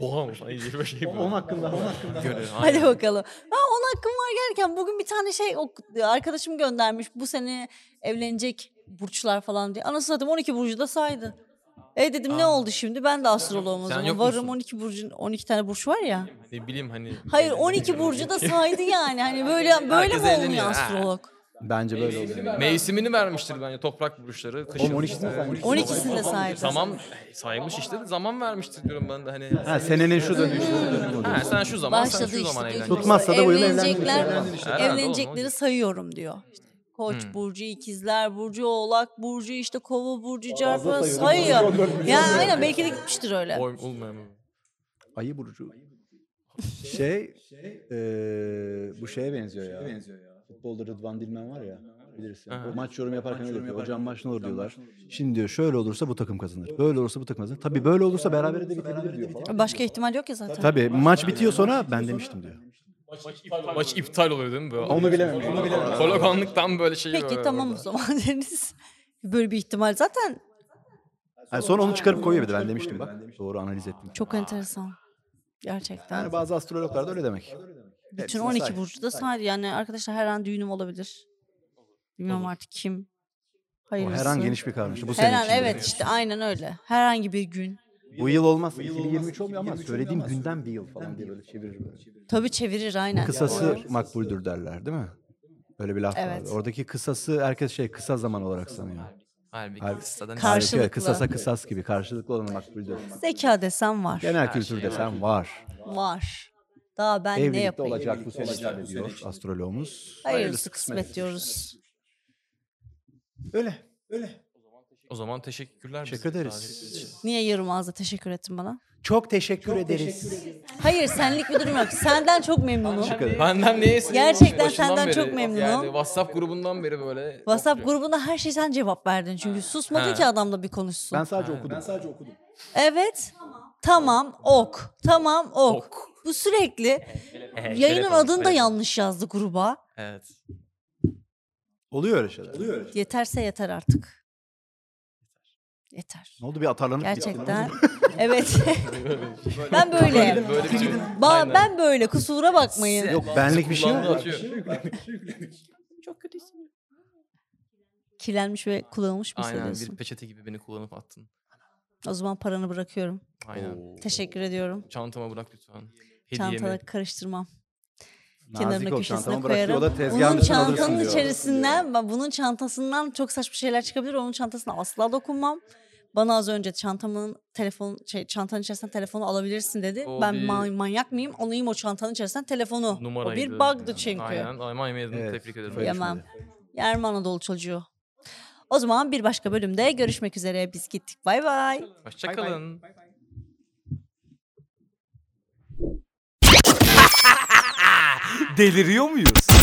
D: Boğa mı? Hayır böyle şey böyle.
C: Onun hakkında, onun hakkında.
D: Göre,
B: Hadi
D: aynen.
B: bakalım. Ha, on hakkım var gelirken bugün bir tane şey ok- arkadaşım göndermiş. Bu sene evlenecek burçlar falan diye. Anasını satayım 12 burcu da saydı. E dedim ne oldu şimdi? Ben de astroloğum o
D: Sen
B: zaman.
D: yok
B: Varım
D: musun?
B: 12 burcun 12 tane burç var ya.
D: Ne bileyim hani.
B: Hayır 12 burcu da saydı yani. Hani böyle böyle
D: Herkes
B: mi olmuyor
D: evleniyor, ha.
B: astrolog?
C: Bence böyle oluyor.
D: Mevsimini vermiştir bence toprak burçları. Kışın.
C: 12'sini
D: Ee,
C: saymış.
B: 12'sini de saydı.
D: Tamam saymış işte zaman vermiştir diyorum ben de hani.
C: Ha senenin şu dönemi, şu dönemi oluyor.
D: Ha, sen şu zaman sen
B: Başladı
D: şu zaman
B: işte.
D: evlen.
B: diyor ki,
C: Tutmazsa da bu yıl
B: evlenecekler,
C: evlendin
D: Herhalde Hmm. oğlum,
B: evlenecekleri
D: olacak.
B: sayıyorum diyor. İşte Koç burcu, ikizler burcu, oğlak burcu, işte kova burcu, çarpı sayıyor. Ya aynen belki de gitmiştir öyle.
D: Oy, olmuyor mu?
C: Ayı burcu. Şey, eee, bu şeye benziyor ya.
A: Benziyor ya.
C: Futbolda Rıdvan Dilmen var ya bilirsin.
D: Aha.
C: O maç yorum yaparken öyle diyor. Hocam maç ne olur diyorlar. Şimdi diyor şöyle olursa bu takım kazanır. Böyle olursa bu takım kazanır. Tabii böyle olursa berabere de bitebilir diyor falan.
B: Başka ihtimal yok ya zaten.
C: Tabii maç bitiyor sonra ben demiştim diyor.
D: Maç iptal oluyor değil mi böyle?
C: Onu bilemem. Onu bilemem.
D: Kolokanlık tam böyle şey.
B: Peki
D: böyle
B: tamam o
D: orada.
B: zaman Deniz. Böyle bir ihtimal zaten
C: Yani sonra onu çıkarıp koyuyor bir de ben demiştim bak. Doğru analiz ettim.
B: çok enteresan. Gerçekten.
C: Yani bazı astrologlar da öyle demek.
B: Bütün
C: hepsini
B: 12
C: say.
B: burcu da saydı. Yani arkadaşlar her an düğünüm olabilir. Bilmiyorum artık kim
C: O
B: Hayırlısı.
C: her an geniş bir karmaşa. Bu
B: Her
C: sene
B: an
C: içinde.
B: evet işte aynen öyle. Herhangi bir gün.
C: Bu yıl olmaz.
A: Bu yıl
C: 2023
A: olmaz,
C: olmuyor ama
A: 2023
C: söylediğim
A: olmaz.
C: günden bir yıl falan
A: Günden
C: diye
A: bir
C: böyle
A: yıl.
C: çeviririm. yani.
B: Tabii çevirir aynen.
C: Kısası
B: Doğru.
C: makbuldür derler değil mi? Böyle bir laf
B: Evet.
C: vardı. Oradaki kısası herkes şey kısa zaman olarak sanıyor.
D: Halbuki
C: Halbuki-
D: kıssadan
B: Karşı-
D: ibaret.
C: Halbuki
B: Karşılıklı.
C: Kısasa kısas gibi. Karşılıklı olan makbuldür.
B: Zeka desem var.
C: Genel
D: Her
C: kültür
D: şey
C: desem var.
B: Var. Daha ben ne
C: Evlilikte
B: yapayım?
C: olacak bu sene
A: Evlilikte olacak
C: işte
A: bu sene
C: diyor
A: işte.
C: astroloğumuz.
B: Hayırlısı kısmet diyoruz.
C: Öyle.
D: O zaman teşekkürler. bizi
C: Teşekkür ederiz.
D: davetiniz için.
B: Niye yarım ağızla teşekkür ettin bana?
C: Çok teşekkür ederiz.
B: Hayır senlik bir durum yok. Senden çok memnunum.
C: Teşekkür ederiz.
D: Benden neyse.
B: Gerçekten
D: başından
B: senden
D: beri,
B: çok memnunum.
D: Yani WhatsApp grubundan beri böyle.
B: WhatsApp grubuna her şeyi sen cevap verdin çünkü susmadın
D: Ha.
B: ki adamla bir konuşsun.
C: Ben sadece okudum.
A: sadece okudum.
B: Evet. Tamam ok. Tamam ok.
D: Ok. Ee,
B: Bu sürekli
D: Evet,
B: yayının
D: telefon,
B: adını da
D: telefon.
B: yanlış yazdı gruba.
D: Evet.
C: Oluyor öyle şeyler.
A: Oluyor öyle.
B: Yeterse yeter artık. Yeter.
C: Ne oldu bir atarlanıp
B: Gerçekten. evet.
D: Böyle-
B: ben böyle.
D: Böyle bir şey.
B: Ba-
D: Aynen.
B: ben böyle kusura bakmayın.
C: Yok benlik bir şey
D: Kulağına
C: yok.
D: atıyor.
B: Çok kötüsün. Kirlenmiş ve kullanılmış mı
D: Aynen bir
B: hissediyorsun?
D: peçete gibi beni kullanıp attın.
B: O zaman paranı bırakıyorum.
D: Aynen.
B: Teşekkür ediyorum.
D: Çantama bırak lütfen. Hediyemi.
B: Çantada karıştırmam.
C: Nazik
B: Kenarına
C: ol,
B: köşesine
C: çantamı bıraktı,
B: koyarım.
C: O da tezgahın
B: Onun
C: dışına alırsın
B: çantanın
C: diyor.
B: içerisinden, ben bunun çantasından çok saçma şeyler çıkabilir. Onun çantasına asla dokunmam. Bana az önce çantamın telefon şey çantanın içerisinden telefonu alabilirsin dedi.
D: O
B: ben
D: bir-
B: ma- manyak mıyım? Alayım o çantanın içerisinden telefonu.
D: Numaraydı.
B: O bir bug'dı çünkü.
D: Aynen. Almanya meydanını
C: Evet.
D: tebrik ederim.
C: Böyle
B: Yemem.
C: şimdi.
B: Yerman Anadolu çocuğu. O zaman bir başka bölümde görüşmek üzere. Biz gittik. Bay bay.
D: Hoşçakalın.
E: Deliriyor muyuz?